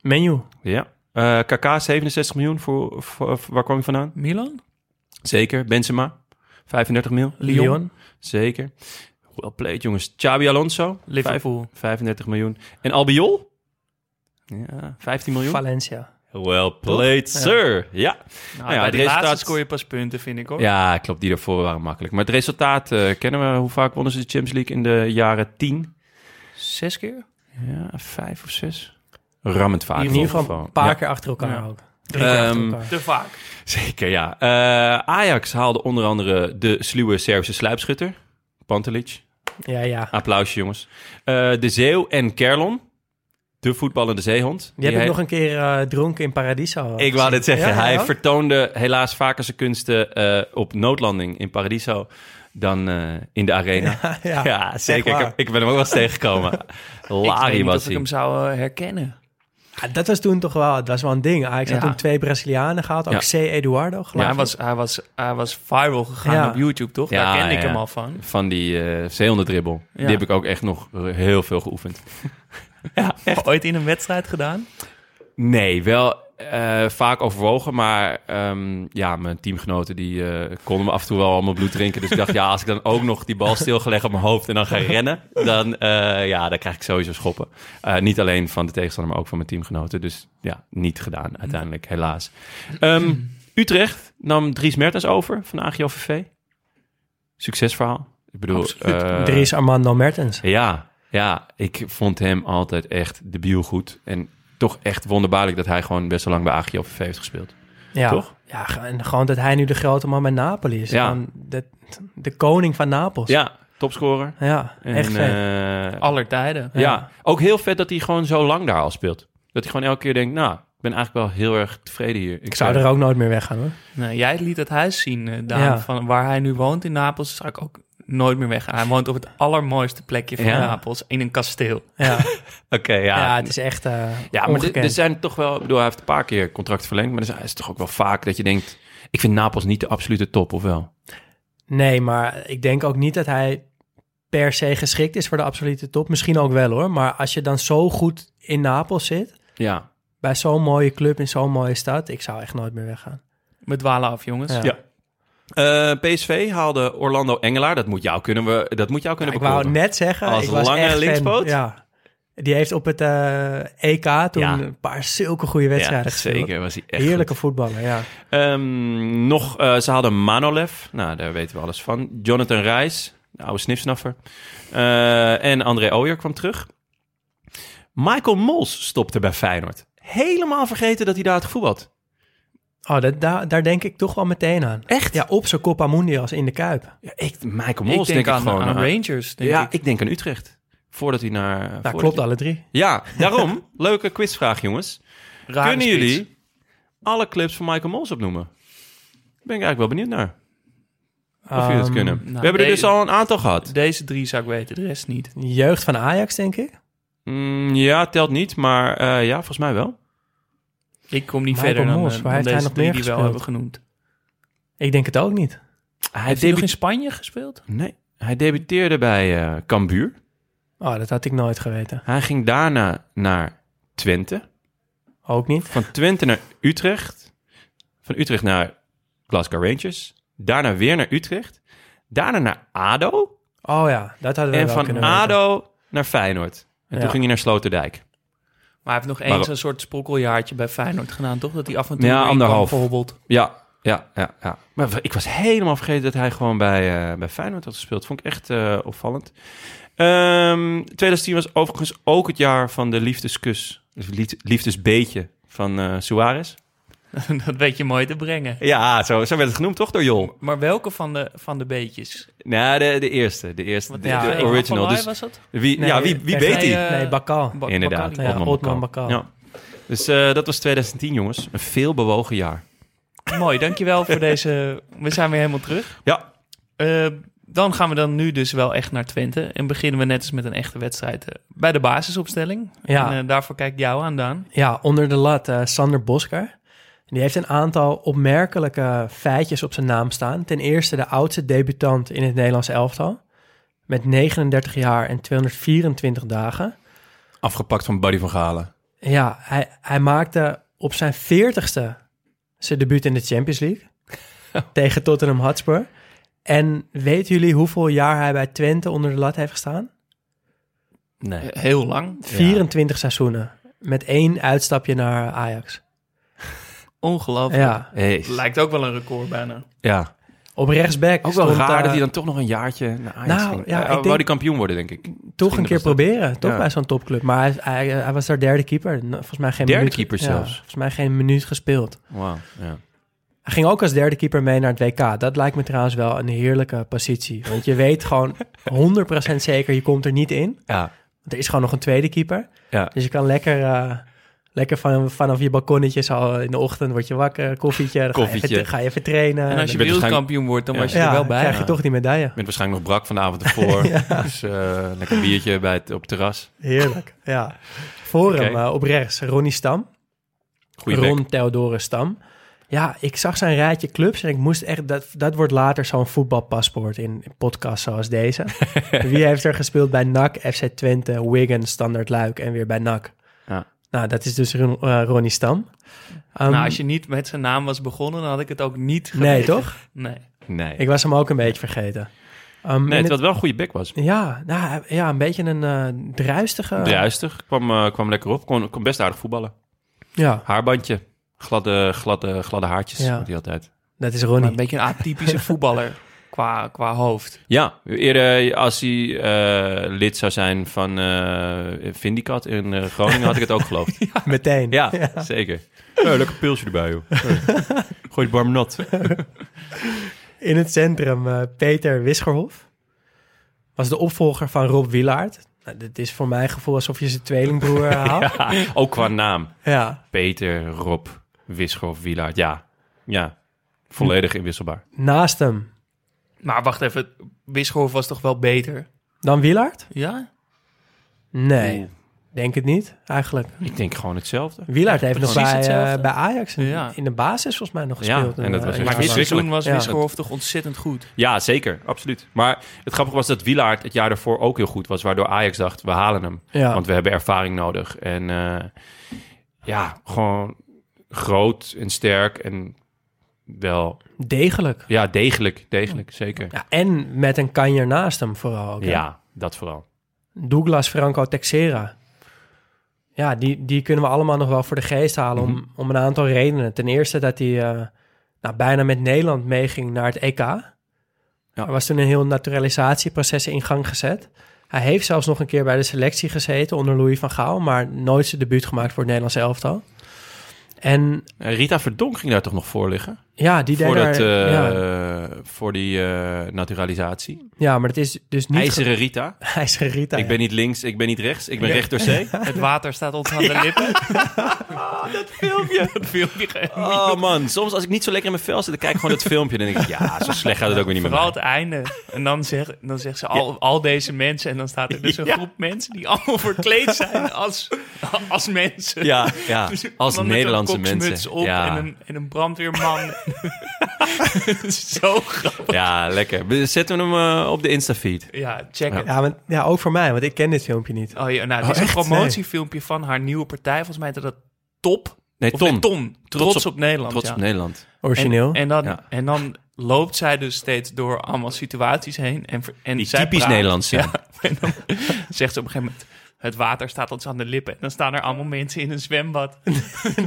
S4: Menu.
S3: Ja. Eh KK 67 miljoen, voor, voor- voor- waar kwam hij vandaan?
S1: Milan?
S3: Zeker. Benzema 35 miljoen.
S4: Lyon.
S3: Zeker. Well played, jongens. Xabi Alonso
S1: Liverpool.
S3: vijf- 35 miljoen. En Albiol? Ja, 15 miljoen.
S4: Valencia.
S3: well played, sir. Ja.
S1: Nou, bij
S3: ja, het
S1: die
S3: resultaat-
S1: laatste scoor je pas punten, vind ik hoor.
S3: Ja, klopt. Die daarvoor waren makkelijk. Maar het resultaat eh, kennen we. Hoe vaak wonnen ze de Champions League in de jaren 10?
S1: Zes keer?
S3: Ja, vijf of zes. Rammend vaak.
S4: In ieder geval een paar keer achter elkaar
S1: Ja.
S4: ook. Drie keer achter
S3: Ehm,
S4: elkaar.
S1: Te vaak.
S3: Zeker, ja. Eh, Ajax haalde onder andere de sluwe Servische sluipschutter, Pantelic.
S4: Ja, ja.
S3: Applausje, jongens. Eh, de Zeeuw en Kerlon, de voetballende zeehond.
S4: Die heb ik
S3: hij-
S4: nog een keer eh, dronken in Paradiso. eh,
S3: Ik wou dit zeggen.
S4: Ja,
S3: hij
S4: ja.
S3: vertoonde helaas vaker zijn kunsten eh, op noodlanding in Paradiso dan eh, in de arena. Ja,
S4: ja.
S3: zeker.
S4: echt
S3: Ik,
S4: waar.
S3: heb- ik ben hem ook wel eens tegengekomen.
S1: ik weet
S3: Lari
S1: niet
S3: was
S1: of ik
S3: hij.
S1: hem zou eh, herkennen.
S4: Ja, dat was toen toch wel, dat was wel een ding. Ajax had
S1: Ja.
S4: toen twee Brazilianen gehaald, ook
S3: Ja.
S4: C. Eduardo
S1: Maar
S4: geloof
S1: hij
S4: ik.
S1: was, hij, was, hij was viral gegaan
S4: Ja.
S1: op YouTube, toch?
S3: Ja,
S1: Daar kende ik
S3: ja.
S1: hem al van.
S3: Van die eh zeehondendribbel.
S1: Ja.
S3: Die heb ik ook echt nog heel veel geoefend.
S1: Ooit in een wedstrijd gedaan?
S3: Nee, wel eh, vaak overwogen. Maar ehm, ja, mijn teamgenoten die eh, konden me af en toe wel allemaal bloed drinken. Dus ik dacht, ja, als ik dan ook nog die bal stilgelegd op mijn hoofd en dan ga rennen, dan, eh, ja, dan krijg ik sowieso schoppen. Eh, niet alleen van de tegenstander, maar ook van mijn teamgenoten. Dus ja, niet gedaan uiteindelijk, helaas. Ehm, Utrecht nam Dries Mertens over van AGOVV. Succesverhaal. Ik bedoel,
S1: Absoluut.
S3: eh,
S4: Dries Armando Mertens.
S3: ja, ja, ik vond hem altijd echt debiel goed. En toch echt wonderbaarlijk dat hij gewoon best wel lang bij AGOVV heeft gespeeld.
S4: Ja.
S3: Toch?
S4: Ja, ge- en gewoon dat hij nu de grote man bij Napoli is.
S3: Ja.
S4: Gewoon De, de koning van Napels.
S3: Ja, topscorer.
S4: Ja,
S3: En,
S4: echt vet.
S3: eh,
S1: Aller tijden.
S3: ja. ook heel vet dat hij gewoon zo lang daar al speelt. Dat hij gewoon elke keer denkt, nou, ik ben eigenlijk wel heel erg tevreden hier. Eh,
S4: Ik zou er ook nooit meer weggaan hoor.
S1: Nee, jij liet het huis zien, eh, Daan,
S4: Ja.
S1: van waar hij nu woont in Napels. Zou ik ook nooit meer weggaan. Hij woont op het allermooiste plekje van
S3: Ja.
S1: Napels, in een kasteel.
S4: Ja,
S3: Oké, ja.
S4: ja.
S3: Ja,
S4: het is echt eh
S3: maar er-
S4: ongekend.
S3: er zijn toch wel... Ik bedoel, hij heeft een paar keer contract verlengd. Maar er is toch ook wel vaak dat je denkt... Ik vind Napels niet de absolute top, of wel?
S4: Nee, maar ik denk ook niet dat hij per se geschikt is voor de absolute top. Misschien ook wel hoor. Maar als je dan zo goed in Napels zit,
S3: Ja.
S4: bij zo'n mooie club in zo'n mooie stad, ik zou echt nooit meer weggaan.
S1: Met dwalen af, jongens.
S4: Ja.
S3: Ja. Eh, PSV haalde Orlando Engelaar. Dat moet jou kunnen, we, dat moet jou kunnen
S4: ik wou
S3: bekoren.
S4: net zeggen,
S3: Als
S4: ik was
S3: lange
S4: echt fan.
S3: linkspoot?
S4: Ja. Die heeft op het eh, EK toen
S3: Ja.
S4: een paar zulke goede wedstrijden
S3: Ja,
S4: gespeeld.
S3: zeker was hij echt
S4: Heerlijke voetballer, ja.
S3: goed. Ehm, nog, eh, ze hadden Manolev. Nou, daar weten we alles van. Jonathan Reis, de oude snifsnaffer. Eh, en André Ooyer kwam terug. Michael Mols stopte bij Feyenoord. Helemaal vergeten dat hij daar het gevoetbald.
S4: Oh, dat, daar, daar denk ik toch wel meteen aan.
S3: Echt?
S4: Ja, op zijn Copa Mundials in de Kuip. Nou,
S3: Ja, ik, Michael
S1: Ik
S3: Mols
S1: denk,
S3: denk,
S1: aan,
S3: ik gewoon. eh,
S1: aan
S3: aan-
S1: Rangers, denk
S3: ja,
S1: ik.
S3: ik. denk aan Utrecht. Voordat hij naar... eh, voordat
S4: Nou, klopt
S3: hij-
S4: alle drie.
S3: Ja, daarom. Leuke quizvraag, jongens.
S1: Rare
S3: Kunnen
S1: spits.
S3: jullie alle clips van Michael Mols opnoemen? Daar ben ik eigenlijk wel benieuwd naar. Of jullie dat
S4: Ehm,
S3: kunnen.
S1: nou,
S3: We hebben er dus
S1: deze-
S3: al een aantal gehad.
S1: Deze drie zou ik weten, de rest niet.
S4: Jeugd van Ajax, denk ik.
S3: Mm, ja, telt niet, maar eh, ja, volgens mij wel.
S1: Ik kom niet
S4: Michael
S1: verder dan,
S4: Mos,
S1: eh,
S4: waar
S1: dan
S4: heeft hij
S1: deze
S4: nog
S1: drie
S4: meer
S1: die we wel
S4: gespeeld?
S1: hebben genoemd.
S4: Ik denk het ook niet.
S3: Hij,
S1: Heeft hij nog in
S3: debu-
S1: Spanje gespeeld?
S3: nee, hij debuteerde bij eh Cambuur.
S4: Oh, dat had ik nooit geweten.
S3: Hij ging daarna naar Twente.
S4: Ook niet.
S3: Van Twente naar Utrecht. Van Utrecht naar Glasgow Rangers. Daarna weer naar Utrecht. Daarna naar ADO.
S4: Oh ja, dat hadden we
S3: En
S4: wel
S3: van
S4: kunnen weten.
S3: ADO naar Feyenoord. En
S4: Ja.
S3: toen ging hij naar Sloterdijk.
S1: Maar hij heeft nog
S3: Maar-
S1: eens een soort sprokkeljaartje bij Feyenoord gedaan, toch? Dat hij af en toe
S3: Ja,
S1: erin kwam,
S3: anderhalf.
S1: bijvoorbeeld.
S3: Ja, ja, ja, ja. Maar w- ik was helemaal vergeten dat hij gewoon bij, eh, bij Feyenoord had gespeeld. Vond ik echt eh, opvallend. Ehm 2010 was overigens ook het jaar van de liefdeskus. Dus lief- liefdesbeetje van eh Suarez.
S1: dat weet je mooi te brengen.
S3: Ja, zo, zo werd het genoemd toch door Jol?
S1: Maar welke van de, van de beetjes?
S3: Nou, de, de eerste. De eerste,
S1: Want
S3: de,
S1: ja,
S3: de
S1: een van
S3: original.
S1: Lai
S3: Dus
S1: was dat?
S3: wie,
S4: Nee,
S3: ja, wie, wie
S4: echt-
S3: weet
S1: hij,
S3: hij?
S1: eh,
S4: Nee, Bakal.
S1: Ba-
S3: Inderdaad,
S1: Bakari.
S4: Ja, Otman Bakal.
S3: Ja. Dus eh, dat was 2010, jongens. Een veel bewogen jaar.
S1: Mooi, dankjewel voor deze. We zijn weer helemaal terug.
S3: Ja.
S1: Eh, dan gaan we dan nu dus wel echt naar Twente. En beginnen we net eens met een echte wedstrijd eh, bij de basisopstelling.
S4: Ja.
S1: En eh, daarvoor kijk ik jou aan, Daan.
S4: Ja, onder de lat eh, Sander Bosker. Die heeft een aantal opmerkelijke feitjes op zijn naam staan. Ten eerste de oudste debutant in het Nederlands elftal. Met 39 jaar en 224 dagen.
S3: Afgepakt van Buddy van Galen.
S4: Ja, hij, hij maakte op zijn 40ste zijn debuut in de Champions League. tegen Tottenham Hotspur. En weten jullie hoeveel jaar hij bij Twente onder de lat heeft gestaan?
S3: Nee.
S1: Eh, Heel lang.
S4: 24 seizoenen. Met één uitstapje naar Ajax.
S1: Ongelooflijk.
S4: Ja.
S3: Hey.
S1: Lijkt ook wel een record bijna.
S3: Ja.
S4: Op rechtsback
S3: Ook wel
S4: stond,
S3: raar
S4: eh,
S3: dat hij dan toch nog een jaartje naar Ajax
S4: Nou,
S3: ging.
S4: ja,
S3: Hij
S4: ik
S3: wou
S4: denk-
S3: die kampioen worden, denk ik.
S4: Toch een keer
S3: was dat-
S4: proberen, toch
S3: Ja.
S4: bij zo'n topclub. Maar hij, hij, hij was daar derde keeper. Nou, Volgens mij geen
S3: Derde
S4: minuut,
S3: keeper
S4: ja,
S3: zelfs.
S4: Volgens mij geen minuut gespeeld.
S3: Wauw, ja.
S4: Hij ging ook als derde keeper mee naar het WK. Dat lijkt me trouwens wel een heerlijke positie. Want je weet gewoon 100% zeker, je komt er niet in.
S3: Ja.
S4: Want er is gewoon nog een tweede keeper.
S3: Ja.
S4: Dus je kan lekker, eh, lekker van, vanaf je balkonnetje zo in de ochtend word je wakker, koffietje. Dan Ga, je
S3: Koffietje.
S4: even, ga je even trainen.
S1: En als je
S3: bent
S1: wereldkampioen wordt, dan
S3: Ja.
S1: was je
S4: ja,
S1: er wel bij.
S4: krijg je
S3: ja.
S4: toch die medaille.
S3: Ik ben waarschijnlijk nog brak vanavond ervoor. Dus eh, lekker biertje bij het, op het terras.
S4: Heerlijk, ja. Voor hem
S3: Oké.
S4: eh, op rechts, Ronnie Stam.
S3: Goeie
S4: Ron
S3: bek.
S4: Theodore Stam. Ja, ik zag zijn rijtje clubs en ik moest echt... Dat, dat wordt later zo'n voetbalpaspoort in, in podcasts zoals deze. Wie heeft er gespeeld bij NAC, FC Twente, Wigan, Standard Luik en weer bij NAC?
S3: Ja.
S4: Nou, dat is dus Ron- eh, Ronnie Stam. Um,
S1: Nou, als je niet met zijn naam was begonnen, dan had ik het ook niet geweten.
S4: Nee, toch?
S1: Nee.
S3: Nee.
S4: Ik was hem ook een beetje vergeten. Um,
S3: nee,
S4: en
S3: terwijl het wel een goede bek was.
S4: het- ja, nou, hij- ja, een beetje een eh, druistige...
S3: Druistig, kwam, eh, kwam lekker op. Kon, kon best aardig voetballen.
S4: Ja,
S3: Haarbandje, gladde, gladde, gladde haartjes
S4: Ja.
S3: had hij altijd.
S4: dat is
S1: Maar
S4: Ronnie.
S1: een beetje een atypische voetballer qua, qua hoofd.
S3: Ja, eerder als hij eh, lid zou zijn van eh Vindicat in eh, Groningen had ik het ook geloofd.
S4: Meteen.
S3: Ja, zeker. Eh, lekker pilsje erbij, joh. Eh, Gooi het warm nat.
S4: In het centrum eh, Peter Wisgerhof. Was de opvolger van Rob Wilaert. Nou, dit is voor mijn gevoel alsof je zijn tweelingbroer eh, haalt. Ja.
S3: Ah, ook qua naam.
S4: ja.
S3: Peter, Rob, Wischoff, Wielaert. Ja, ja. Volledig inwisselbaar.
S4: Naast hem
S1: Maar wacht even, Wisgerhoff was toch wel beter?
S4: dan Wilaert?
S1: Ja?
S4: Nee, denk het niet eigenlijk.
S3: Ik denk gewoon hetzelfde.
S4: Wilaert heeft nog
S1: precies
S4: bij, eh,
S1: hetzelfde.
S4: bij Ajax in,
S1: Ja.
S4: in de basis volgens mij nog
S3: Ja,
S4: gespeeld.
S3: en dat
S4: eh,
S3: was
S4: een
S3: echt
S1: Maar dit
S4: jaar lang.
S1: seizoen was
S4: Ja.
S1: Wisgerhoff toch ontzettend goed.
S3: Ja, zeker. Absoluut. Maar het grappige was dat Wielaert het jaar daarvoor ook heel goed was. Waardoor Ajax dacht, we halen hem.
S4: Ja.
S3: Want we hebben ervaring nodig. En eh, ja, gewoon groot en sterk en wel...
S4: Degelijk.
S3: Ja, degelijk. Degelijk, zeker.
S4: Ja, en met een kanjer naast hem vooral. ook, hè?
S3: Ja, dat vooral.
S4: Douglas Franco Texera. Ja, die, die kunnen we allemaal nog wel voor de geest halen
S3: Mhm.
S4: om, om een aantal redenen. Ten eerste dat hij eh, nou, bijna met Nederland meeging naar het EK. Er was toen een heel naturalisatieproces in gang gezet. Hij heeft zelfs nog een keer bij de selectie gezeten onder Louis van Gaal, maar nooit zijn debuut gemaakt voor het Nederlands elftal. En
S3: Eh, Rita Verdonk ging daar toch nog voor liggen?
S4: ja, die deed
S3: Voor, dat,
S4: daar- ja,
S3: eh, voor die eh, naturalisatie.
S4: ja, maar het is dus niet...
S3: IJzeren Rita.
S4: ge- IJzeren Rita.
S3: Ik
S4: ja.
S3: ben niet links, ik ben niet rechts, ik ben recht door zee.
S1: Het water staat ons aan de lippen.
S3: filmpje.
S1: Dat filmpje geeft.
S3: Oh man, soms als ik niet zo lekker in mijn vel zit, dan kijk ik gewoon dat filmpje. Dan denk ik, ja, zo slecht gaat het ook weer niet meer.
S1: Vooral het einde. En dan zegt dan zegt ze al, al deze mensen. En dan staat er dus een
S3: Ja.
S1: groep mensen die allemaal verkleed zijn als, als mensen.
S3: Ja, ja,
S1: Dus een
S3: als
S1: man met
S3: Nederlandse
S1: een koksmuts
S3: mensen.
S1: Op
S3: ja.
S1: en, een, en een brandweerman. Zo grappig.
S3: ja, lekker. We zetten hem eh, op de Instafeed.
S1: Ja, check het.
S4: Ja, want, ja, ook voor mij, want ik ken dit filmpje niet.
S1: Oh, ja, nou, het is
S4: Oh,
S1: een
S4: echt? Nee.
S1: promotiefilmpje van haar nieuwe partij. Volgens mij heette dat Top.
S3: Nee,
S1: Of
S3: Ton.
S1: nee, Ton. Trots,
S3: op-
S1: op, Nederland.
S3: Trots
S1: ja.
S3: op Nederland.
S4: Origineel.
S1: En, en, dan,
S3: Ja.
S1: en dan loopt zij dus steeds door allemaal situaties heen. En, ver- en
S3: Die
S1: zij
S3: typisch
S1: praat.
S3: Nederlands zijn.
S1: En dan zegt ze op een gegeven moment... Het water staat ons aan de lippen. En dan staan er allemaal mensen in een zwembad.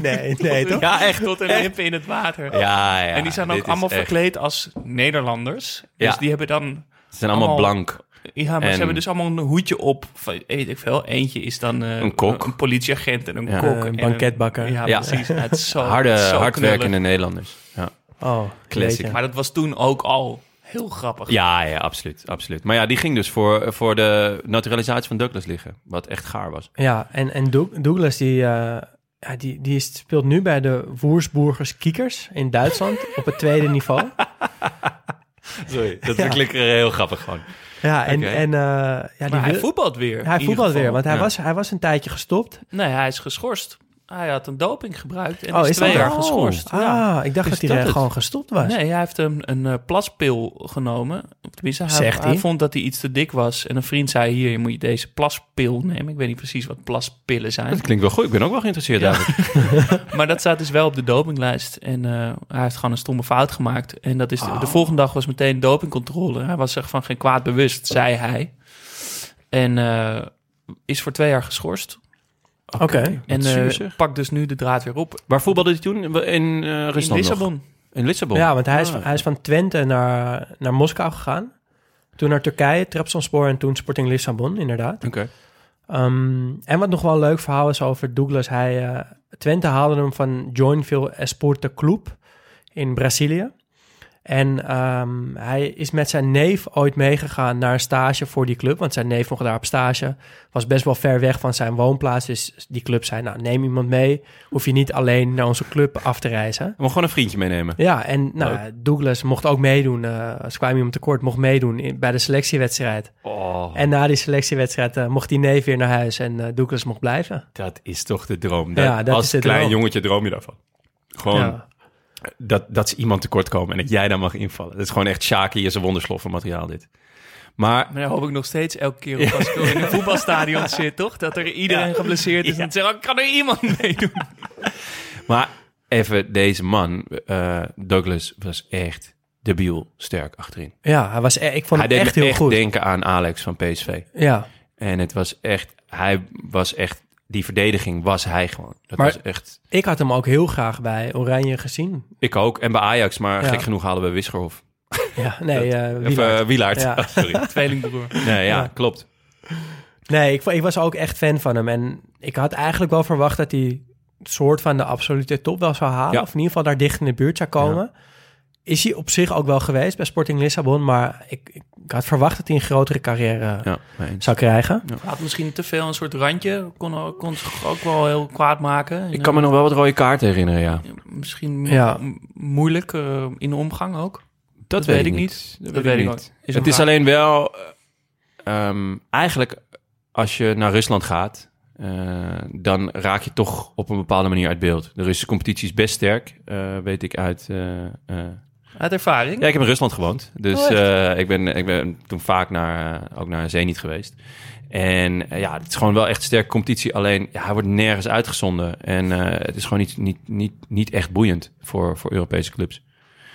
S4: nee, nee, toch?
S3: Ja, echt.
S1: Tot hun lippen in het water.
S3: Ja, ja.
S1: en die zijn
S3: dit
S1: ook
S3: is
S1: allemaal
S3: echt-
S1: verkleed als Nederlanders. Dus
S3: Ja.
S1: die hebben dan...
S3: Ze zijn allemaal
S1: allemaal-
S3: blank.
S1: Ja, maar
S3: En-
S1: ze hebben dus allemaal een hoedje op. Van, weet ik veel. Eentje is dan eh,
S3: Een kok.
S1: Een politieagent en een
S3: Ja.
S1: kok.
S4: Eh,
S1: en
S4: een banketbakker.
S1: ja,
S3: Ja.
S1: precies. Ja, het is zo,
S3: Harde,
S1: zo
S3: hardwerkende
S1: knullig.
S3: Nederlanders. Ja.
S4: Oh,
S3: Classic.
S4: weet je.
S1: Maar dat was toen ook al heel grappig.
S3: Ja, ja, absoluut, absoluut. Maar ja, die ging dus voor, voor de naturalisatie van Douglas liggen. Wat echt gaar was.
S4: Ja, en, en Doug- Douglas die eh, ja, die, die is- speelt nu bij de Woersburgers Kiekers in Duitsland op het tweede niveau.
S3: Sorry, dat ja. klinkt heel grappig gewoon.
S4: Ja, en,
S3: Oké.
S4: en eh, ja, die
S1: Maar hij
S4: wil-
S1: voetbalt weer. in
S4: hij
S1: ieder
S4: voetbalt weer,
S1: geval.
S4: want hij,
S3: ja.
S4: was, hij was een tijdje gestopt.
S1: Nee, hij is geschorst. Hij had een doping gebruikt en
S4: Oh,
S1: is,
S4: is
S1: twee
S4: dat
S1: jaar
S3: het? Oh.
S1: geschorst.
S4: Ah,
S1: Ja.
S4: ik dacht
S3: Is
S4: dat hij
S3: dat
S4: er
S3: het?
S4: gewoon gestopt was.
S1: Nee, hij heeft een, een eh, plaspil genomen. Tenminste, hij,
S4: Zegt
S1: hij
S4: hij.
S1: vond dat hij iets te dik was. En een vriend zei, hier, moet je deze plaspil nemen. Ik weet niet precies wat plaspillen zijn.
S3: Dat klinkt wel goed. Ik ben ook wel geïnteresseerd
S1: Ja.
S3: eigenlijk.
S1: Maar dat staat dus wel op de dopinglijst. En eh, hij heeft gewoon een stomme fout gemaakt. En dat is
S4: Oh.
S1: de, de volgende dag was meteen dopingcontrole. Hij was zich van geen kwaad bewust,
S4: Oh.
S1: zei hij. En eh, is voor twee jaar geschorst.
S4: Oké.
S1: En
S3: Wat zuur,
S1: eh,
S3: zeg.
S1: pakt dus nu de draad weer op.
S3: Waar voetbalde hij toen? In eh,
S1: In
S3: Rusland nog?
S1: Lissabon.
S3: In Lissabon?
S4: Ja, want hij is,
S3: Ah.
S4: hij is van Twente naar, naar Moskou gegaan. Toen naar Turkije, Trabzonspor en toen Sporting Lissabon, inderdaad.
S3: Oké.
S4: Ehm, en wat nog wel een leuk verhaal is over Douglas. Hij, eh, Twente haalde hem van Joinville Esporte Club in Brazilië. En ehm, hij is met zijn neef ooit meegegaan naar een stage voor die club. Want zijn neef mocht daar op stage. Was best wel ver weg van zijn woonplaats. Dus die club zei, nou neem iemand mee. Hoef je niet alleen naar onze club af te reizen.
S3: Hij mocht gewoon een vriendje meenemen.
S4: Ja, en nou, Douglas mocht ook meedoen. eh ze kwamen hem tekort, mocht meedoen in, bij de selectiewedstrijd.
S3: Oh,
S4: En na die selectiewedstrijd eh, mocht die neef weer naar huis en eh, Douglas mocht blijven.
S3: dat is toch de droom.
S4: Ja,
S3: Dat-
S4: dat
S3: als
S4: is de
S3: klein
S4: droom.
S3: jongetje droom je daarvan. Gewoon
S4: Ja.
S3: dat, dat ze iemand tekortkomen en dat jij daar mag invallen. Dat is gewoon echt Shaki en zijn wondersloffen materiaal dit. Maar
S1: Maar daar hoop ik nog steeds elke keer op als ik in een voetbalstadion zit, toch? Dat er iedereen geblesseerd is en zegt, oh, kan er iemand meedoen?
S3: Maar even, deze man, eh, Douglas, was echt debiel sterk achterin.
S4: ja, hij was, e- ik vond
S3: Hij
S4: hem
S3: deed
S4: echt
S3: me
S4: heel goed.
S3: denken aan Alex van PSV.
S4: Ja,
S3: En het was echt, hij was echt, die verdediging was hij gewoon. Dat
S4: Maar-
S3: was echt,
S4: ik had hem ook heel graag bij Oranje gezien.
S3: ik ook. En bij Ajax, maar
S4: Ja.
S3: gek genoeg halen we Wisgerhof.
S4: Ja, nee, eh,
S3: Of
S4: Wielaert.
S3: eh, Wielaert,
S4: Ja.
S3: sorry.
S1: Tweelingbroer.
S3: Nee, ja,
S4: Ja.
S3: klopt.
S4: nee ik, vo- ik was ook echt fan van hem. En ik had eigenlijk wel verwacht dat hij soort van de absolute top wel zou halen.
S3: Ja.
S4: Of in ieder geval daar dicht in de buurt zou komen. Is hij op zich ook wel geweest bij Sporting Lissabon. Maar ik, ik had verwacht dat hij een grotere carrière
S3: Ja, mee eens.
S4: zou krijgen.
S1: Had misschien te veel een soort randje. Kon, kon zich ook wel heel kwaad maken.
S3: Ik kan me nog wel wat rode kaarten herinneren, ja.
S1: En, eh, Misschien mo-
S4: Ja.
S1: m- moeilijk eh, in de omgang ook.
S3: Dat,
S1: weet ik niet.
S3: Dat, weet ik
S1: ook.
S3: niet.
S1: Is
S3: het
S1: een
S3: is
S1: vraag.
S3: alleen wel... eh, ehm, eigenlijk, als je naar Rusland gaat... eh, dan raak je toch op een bepaalde manier uit beeld. De Russische competitie is best sterk, eh, weet ik uit... eh, eh.
S1: Uit ervaring.
S3: Ja, ik heb in Rusland gewoond. Dus
S1: Oh, echt?
S3: eh, ik, ben, ik ben toen vaak naar, eh, ook naar Zenit geweest. En eh, ja, het is gewoon wel echt een sterke competitie. Alleen, ja, hij wordt nergens uitgezonden. En eh, het is gewoon niet, niet, niet, niet echt boeiend voor, voor Europese clubs.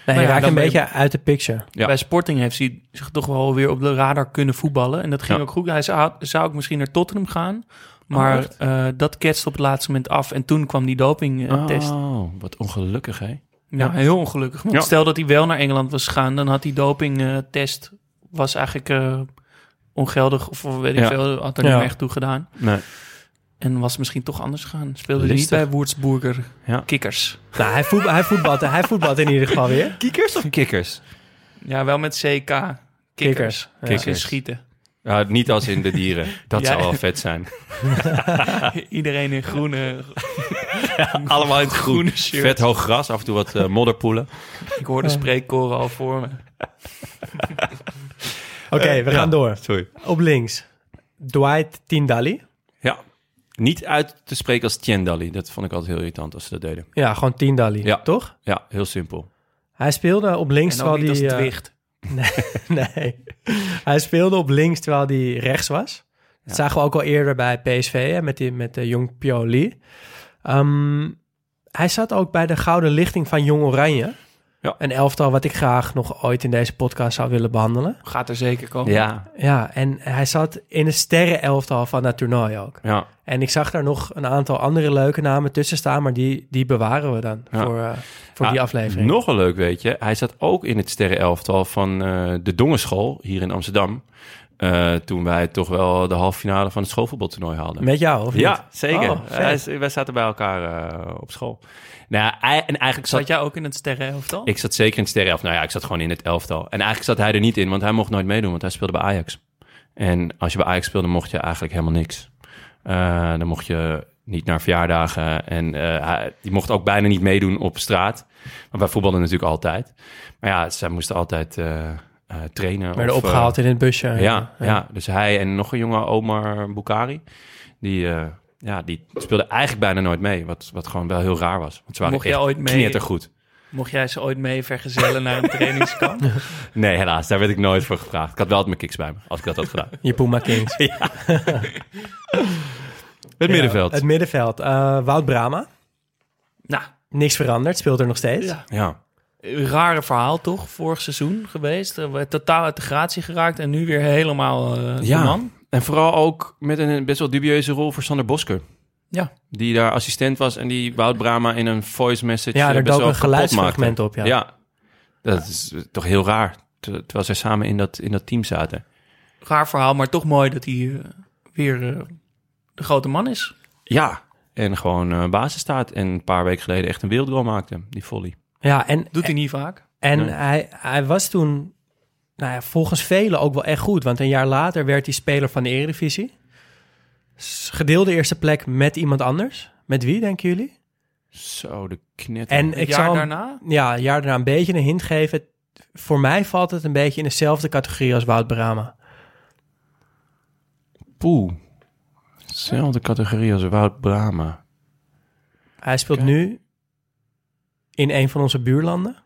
S4: Nee,
S1: Maar
S4: hij
S1: Nou ja,
S4: raakt
S1: dan
S4: een
S1: ben je-
S4: beetje uit de picture.
S3: Ja.
S1: Bij Sporting heeft hij zich toch wel weer op de radar kunnen voetballen. En dat ging
S3: Ja.
S1: ook goed. Hij zou, zou ook misschien naar Tottenham gaan. Maar
S3: echt?
S1: eh, dat ketste op het laatste moment af. En toen kwam die dopingtest.
S3: Oh, wat ongelukkig, hè?
S1: Ja, heel ongelukkig. Want
S3: Ja.
S1: stel dat hij wel naar Engeland was gegaan, dan had die dopingtest was eigenlijk eh, ongeldig of weet ik
S3: Ja.
S1: veel, had er
S4: Ja.
S1: niet meer echt toe gedaan.
S3: Nee.
S1: En was misschien toch anders gegaan. Speelde hij niet
S3: Listig.
S1: bij Würzburger
S3: Ja.
S1: Kikkers.
S4: Nou, hij, voetbal, hij, voetbalt, hij voetbalt in ieder geval weer.
S3: Kikkers of kikkers?
S1: Ja, wel met CK. Kikkers.
S4: Kikkers, ja.
S1: Kikkers.
S3: Kikkers.
S1: schieten.
S3: Ja, niet als in de dieren. Dat
S1: Ja.
S3: zou wel vet zijn.
S1: Iedereen in groene,
S3: Allemaal in het
S1: groene shirt.
S3: Vet hoog gras, af en toe wat eh, modderpoelen.
S1: Ik hoor de spreekkoren al voor me.
S4: Oké, we gaan door.
S3: Sorry.
S4: Op links, Dwight Tindalli.
S3: Ja. Niet uit te spreken als Tjendali. Dat vond ik altijd heel irritant als ze dat deden.
S4: Ja, gewoon Tindalli,
S3: Ja.
S4: toch?
S3: Ja, heel simpel.
S4: Hij speelde op links
S1: En ook
S4: terwijl
S1: niet als
S4: hij... eh,
S1: Dwicht.
S4: nee, hij speelde op links terwijl hij rechts was. Dat zagen we ook al eerder bij PSV, hè, met, die, met de Jong Pio Lee. Ehm, hij zat ook bij de Gouden Lichting van Jong Oranje.
S3: Ja.
S4: Een elftal wat ik graag nog ooit in deze podcast zou willen behandelen.
S1: Gaat er zeker komen.
S3: Ja.
S4: Ja, en hij zat in een sterrenelftal van dat toernooi ook.
S3: Ja.
S4: En ik zag daar nog een aantal andere leuke namen tussen staan, maar die, die bewaren we dan
S3: Ja.
S4: voor, eh, voor
S3: Ja,
S4: die aflevering.
S3: Nog een leuk weetje. Hij zat ook in het sterrenelftal van eh, de Dongenschool hier in Amsterdam. Eh, toen wij toch wel de halve finale van het schoolvoetbaltoernooi haalden.
S4: Met jou, of
S3: ja,
S4: niet?
S3: zeker.
S4: Oh, vet.
S3: Hij is- wij zaten bij elkaar eh, op school. Nou, hij- en eigenlijk zat
S1: Zat jij ook in het sterrenelftal?
S3: Ik zat zeker in het sterrenelftal. Nou ja, ik zat gewoon in het elftal. En eigenlijk zat hij er niet in, want hij mocht nooit meedoen, want hij speelde bij Ajax. En als je bij Ajax speelde, mocht je eigenlijk helemaal niks. Eh, dan mocht je Niet naar verjaardagen. En eh, hij- die mocht ook bijna niet meedoen op straat. Maar wij voetballen natuurlijk altijd. Maar ja, zij moesten altijd eh, eh, trainen.
S4: Werden
S3: of, eh,
S4: opgehaald in het busje. Eh,
S3: ja, ja. dus hij en nog een jongen, Omar Boukari, die, eh, ja, die speelde eigenlijk bijna nooit mee. Wat, wat gewoon wel heel raar was. Want ze waren
S1: Mocht jij
S3: echt
S1: ooit mee-
S3: knettergoed.
S1: Mocht jij ze ooit mee vergezellen naar een trainingskamp?
S3: Nee, helaas, daar werd ik nooit voor gevraagd. Ik had wel altijd mijn kicks bij me, als ik dat had gedaan.
S4: Je Puma Kings.
S3: Het middenveld.
S4: Ja, het middenveld. Eh, Wout Brama.
S1: nou,
S4: Niks veranderd. Speelt er nog steeds.
S1: ja.
S3: Ja.
S1: Rare verhaal toch, vorig seizoen geweest. Eh, we- Totaal uit de gratie geraakt en nu weer helemaal eh, de
S3: Ja.
S1: man.
S3: En vooral ook met een best wel dubieuze rol voor Sander Bosker.
S1: Ja.
S3: Die daar assistent was en die Wout Brama in een voice message
S4: Ja,
S3: eh,
S4: daar
S3: best
S4: dook
S3: wel
S4: een
S3: kapot maakte.
S4: geluidsfragment op. Ja.
S3: Ja. dat is eh, toch heel raar. Ter- Terwijl zij samen in dat, in dat team zaten.
S1: Raar verhaal, maar toch mooi dat hij eh, weer eh, de grote man is.
S3: Ja. En gewoon eh, basis staat. En een paar weken geleden echt een wereldgoal maakte. Die volley.
S4: Ja, en,
S1: Doet
S3: Eh,
S1: hij niet vaak.
S4: en
S3: Nee.
S4: hij, hij was toen nou ja, volgens velen ook wel echt goed. Want een jaar later werd hij speler van de Eredivisie. S- Gedeelde eerste plek met iemand anders. Met wie, denken jullie?
S3: Zo, de knetter.
S4: En
S1: Het
S4: ik
S1: jaar
S4: zou hem-
S1: daarna?
S4: ja, een jaar daarna een beetje een hint geven. Voor mij valt het een beetje in dezelfde categorie als Wout Brama.
S3: Poeh. Zelfde categorie als Wout Brama.
S4: Hij speelt
S3: Oké.
S4: nu in een van onze buurlanden.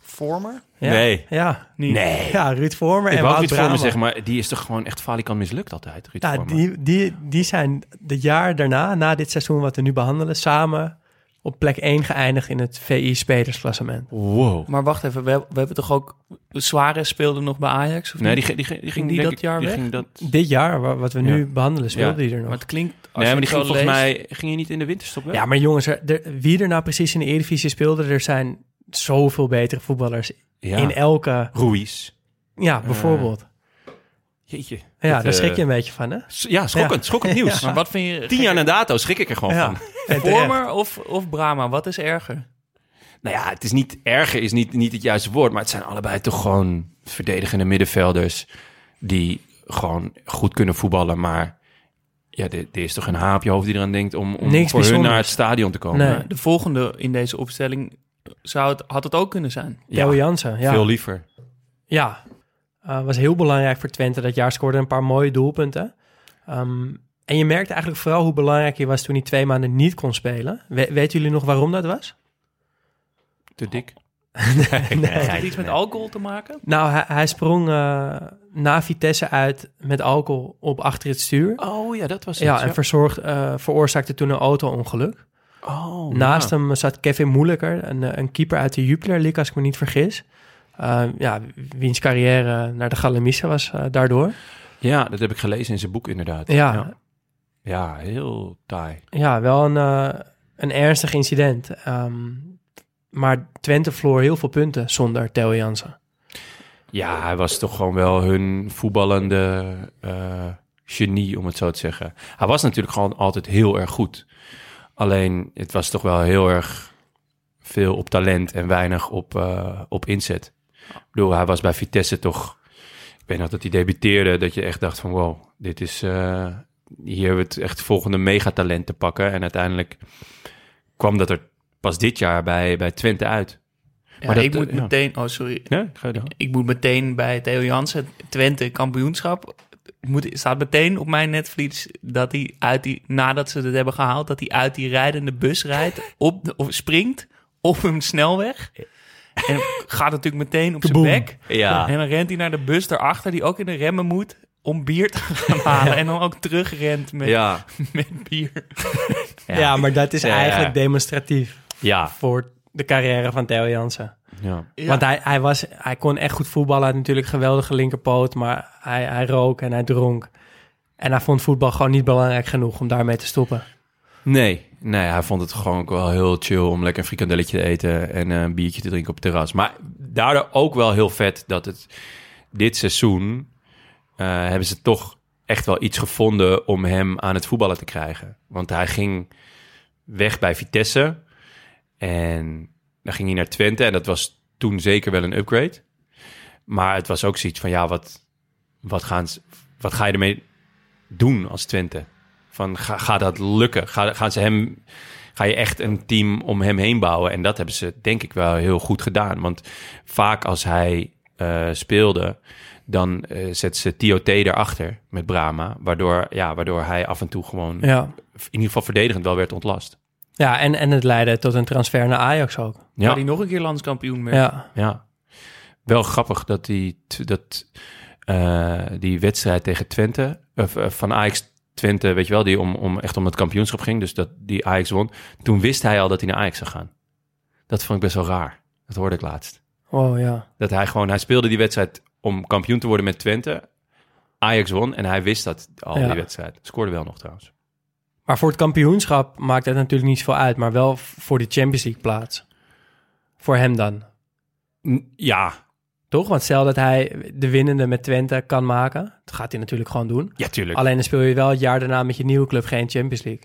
S1: Vormer?
S4: Ja?
S3: Nee.
S4: Ja.
S1: Niet.
S4: Ja, Ruud Vormer
S3: Ik
S4: en
S3: wou ook
S4: Wout
S3: iets voor
S4: Brama.
S3: me zeggen, maar die is toch gewoon echt falikant mislukt altijd, Ruud
S4: Ja,
S3: Vormer?
S4: die, die, die zijn het jaar daarna, na dit seizoen wat we nu behandelen, samen op plek 1 geëindigd in het VI-spelersklassement.
S3: Wow.
S1: Maar wacht even, we, we hebben toch ook... Suarez speelde nog bij Ajax? Of
S3: Nee, die,
S1: niet?
S3: ge- die, ge- die ging
S1: die
S3: denk
S1: dat
S3: ik-
S1: jaar
S3: die
S1: weg?
S3: Ging dat... Nee,
S4: Dit jaar, wa- wat we nu
S3: Ja.
S4: behandelen, speelde die er nog.
S1: Maar het klinkt... Als
S3: maar
S1: je
S3: die
S1: het
S3: ging
S1: zo
S3: volgens
S1: leest-
S3: mij... Ging je niet in de winterstop weg?
S4: ja, maar jongens, er, er- wie er nou precies in de Eredivisie speelde, er zijn zoveel betere voetballers
S3: Ja.
S4: in elke...
S3: Ruiz.
S4: Ja, bijvoorbeeld.
S3: Jeetje.
S4: ja,
S3: Dat,
S4: daar
S3: eh,
S4: schrik je een beetje van, hè?
S3: s- Ja, schokkend. Schokkend nieuws.
S1: Maar wat vind je...
S3: Tien jaar na dato schrik ik er gewoon
S4: Ja.
S3: van.
S4: En terecht.
S1: Vormer of, of Brahma? Wat is erger?
S3: Nou ja, het is niet erger, is niet, niet het juiste woord. Maar het zijn allebei toch gewoon verdedigende middenvelders. Die gewoon goed kunnen voetballen. Maar ja, er er is toch een haap je hoofd die eraan denkt om, om
S4: Niks
S3: voor hun
S4: bijzonders.
S3: naar het stadion te komen.
S4: Nee.
S1: De volgende in deze opstelling zou het, had het ook kunnen zijn.
S3: Ja,
S4: Theo Jansen, ja.
S3: veel liever.
S4: Ja, Eh, was heel belangrijk voor Twente dat jaar. Scoorde een paar mooie doelpunten. Ehm, en je merkte eigenlijk vooral hoe belangrijk hij was toen hij twee maanden niet kon spelen. We- weten jullie nog waarom dat was?
S3: Te dik.
S1: Heeft het iets met alcohol te maken?
S4: Nou, hij, hij sprong eh, na Vitesse uit met alcohol op achter het stuur.
S3: Oh ja, dat was het.
S4: ja, en verzorgd, eh, veroorzaakte toen een auto-ongeluk.
S3: Oh,
S4: Naast
S3: ja.
S4: hem zat Kevin Moeilijker, een, eh, een keeper uit de Jupiler League, als ik me niet vergis. Eh, ja, wiens carrière naar de Galamissa was eh, daardoor.
S3: Ja, dat heb ik gelezen in zijn boek inderdaad.
S4: ja,
S3: ja. Ja, heel taai.
S4: Ja, wel een, eh, een ernstig incident. Ehm, maar Twente verloor heel veel punten zonder Theo Jansen.
S3: Ja, hij was toch gewoon wel hun voetballende eh, genie, om het zo te zeggen. Hij was natuurlijk gewoon altijd heel erg goed. Alleen, het was toch wel heel erg veel op talent en weinig op, eh, op inzet. Ik bedoel, hij was bij Vitesse toch... Ik weet nog dat hij debuteerde, dat je echt dacht van... wow, dit is... eh, hier hebben we het echt volgende megatalent te pakken. En uiteindelijk kwam dat er pas dit jaar bij, bij Twente uit.
S1: maar
S3: Maar dat,
S1: ik moet
S3: eh, ja.
S1: meteen... Oh, sorry.
S3: Ja, ga je dan?
S1: Ik moet meteen bij Theo Jansen, Twente kampioenschap... Moet, staat meteen op mijn netvlies dat hij uit die... Nadat ze het hebben gehaald, dat hij uit die rijdende bus rijdt... Op de, of springt op een snelweg... En gaat natuurlijk meteen op zijn
S4: Kaboom.
S1: bek.
S3: Ja.
S1: En dan rent hij naar de bus daarachter, die ook in de remmen moet... om bier te gaan halen. En dan ook terugrent met,
S3: Ja.
S1: met bier.
S4: Ja, maar dat is
S3: Ja, ja.
S4: eigenlijk demonstratief
S3: Ja.
S4: voor de carrière van Theo Jansen.
S3: ja.
S4: Want hij, hij, was, hij kon echt goed voetballen. Hij had natuurlijk een geweldige linkerpoot, maar hij, hij rook en hij dronk. En hij vond voetbal gewoon niet belangrijk genoeg om daarmee te stoppen.
S3: Nee, nee, hij vond het gewoon ook wel heel chill om lekker een frikandelletje te eten en eh, een biertje te drinken op het terras. Maar daardoor ook wel heel vet dat het dit seizoen eh, hebben ze toch echt wel iets gevonden om hem aan het voetballen te krijgen. Want hij ging weg bij Vitesse en dan ging hij naar Twente en dat was toen zeker wel een upgrade. Maar het was ook zoiets van ja, wat, wat, gaan, ze- wat ga je ermee doen als Twente? Van ga, gaat dat lukken? Ga, gaan ze hem, ga je echt een team om hem heen bouwen? En dat hebben ze denk ik wel heel goed gedaan. Want vaak als hij eh, speelde, dan eh, zet ze TOT erachter met Brahma. Waardoor, ja, waardoor hij af en toe gewoon
S4: Ja.
S3: in ieder geval verdedigend wel werd ontlast.
S4: Ja, en, en het leidde tot een transfer naar Ajax ook.
S1: Waar
S3: Ja,
S1: hij nog een keer landskampioen werd.
S4: Ja,
S3: ja. Wel grappig dat die, t- dat, eh, die wedstrijd tegen Twente, of, eh, van Ajax Twente, weet je wel, die om, om echt om het kampioenschap ging, dus dat die Ajax won. Toen wist hij al dat hij naar Ajax zou gaan. Dat vond ik best wel raar. Dat hoorde ik laatst.
S4: oh ja.
S3: Dat hij gewoon, hij speelde die wedstrijd om kampioen te worden met Twente. Ajax won en hij wist dat al
S4: Ja.
S3: die wedstrijd. Scoorde wel nog trouwens.
S4: Maar voor het kampioenschap maakt dat natuurlijk niet zoveel uit. Maar wel v- voor de Champions League plaats. Voor hem dan.
S3: N- Ja,
S4: Toch? Want stel dat hij de winnende met Twente kan maken. Dat gaat hij natuurlijk gewoon doen.
S3: ja, tuurlijk.
S4: Alleen dan speel je wel het jaar daarna met je nieuwe club geen Champions League.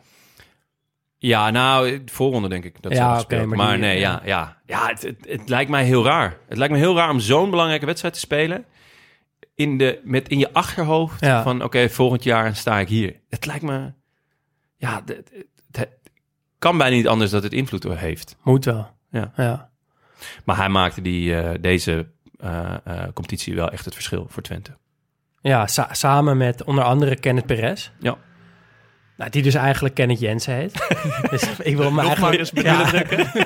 S3: Ja, nou, voorronde denk ik. Dat
S4: Ja,
S3: zal
S4: oké,
S3: gespeeld.
S4: maar
S3: maar,
S4: die-
S3: nee, ja, ja. Ja, het, het, het lijkt mij heel raar. Het lijkt me heel raar om zo'n belangrijke wedstrijd te spelen... In, de, met in je achterhoofd
S4: Ja.
S3: van, oké, volgend jaar sta ik hier. Het lijkt me... Ja, het, het- het kan bijna niet anders dat het invloed heeft.
S4: Moet wel.
S3: Ja.
S4: ja.
S3: Maar hij maakte die, eh, deze eh, eh, competitie wel echt het verschil voor Twente.
S4: Ja, sa- samen met onder andere Kenneth Perez.
S3: Ja.
S4: Nou, die dus eigenlijk Kenneth Jensen heet. dus ik wil hem
S1: Nog maar
S4: eigenlijk...
S1: eens
S4: Ja,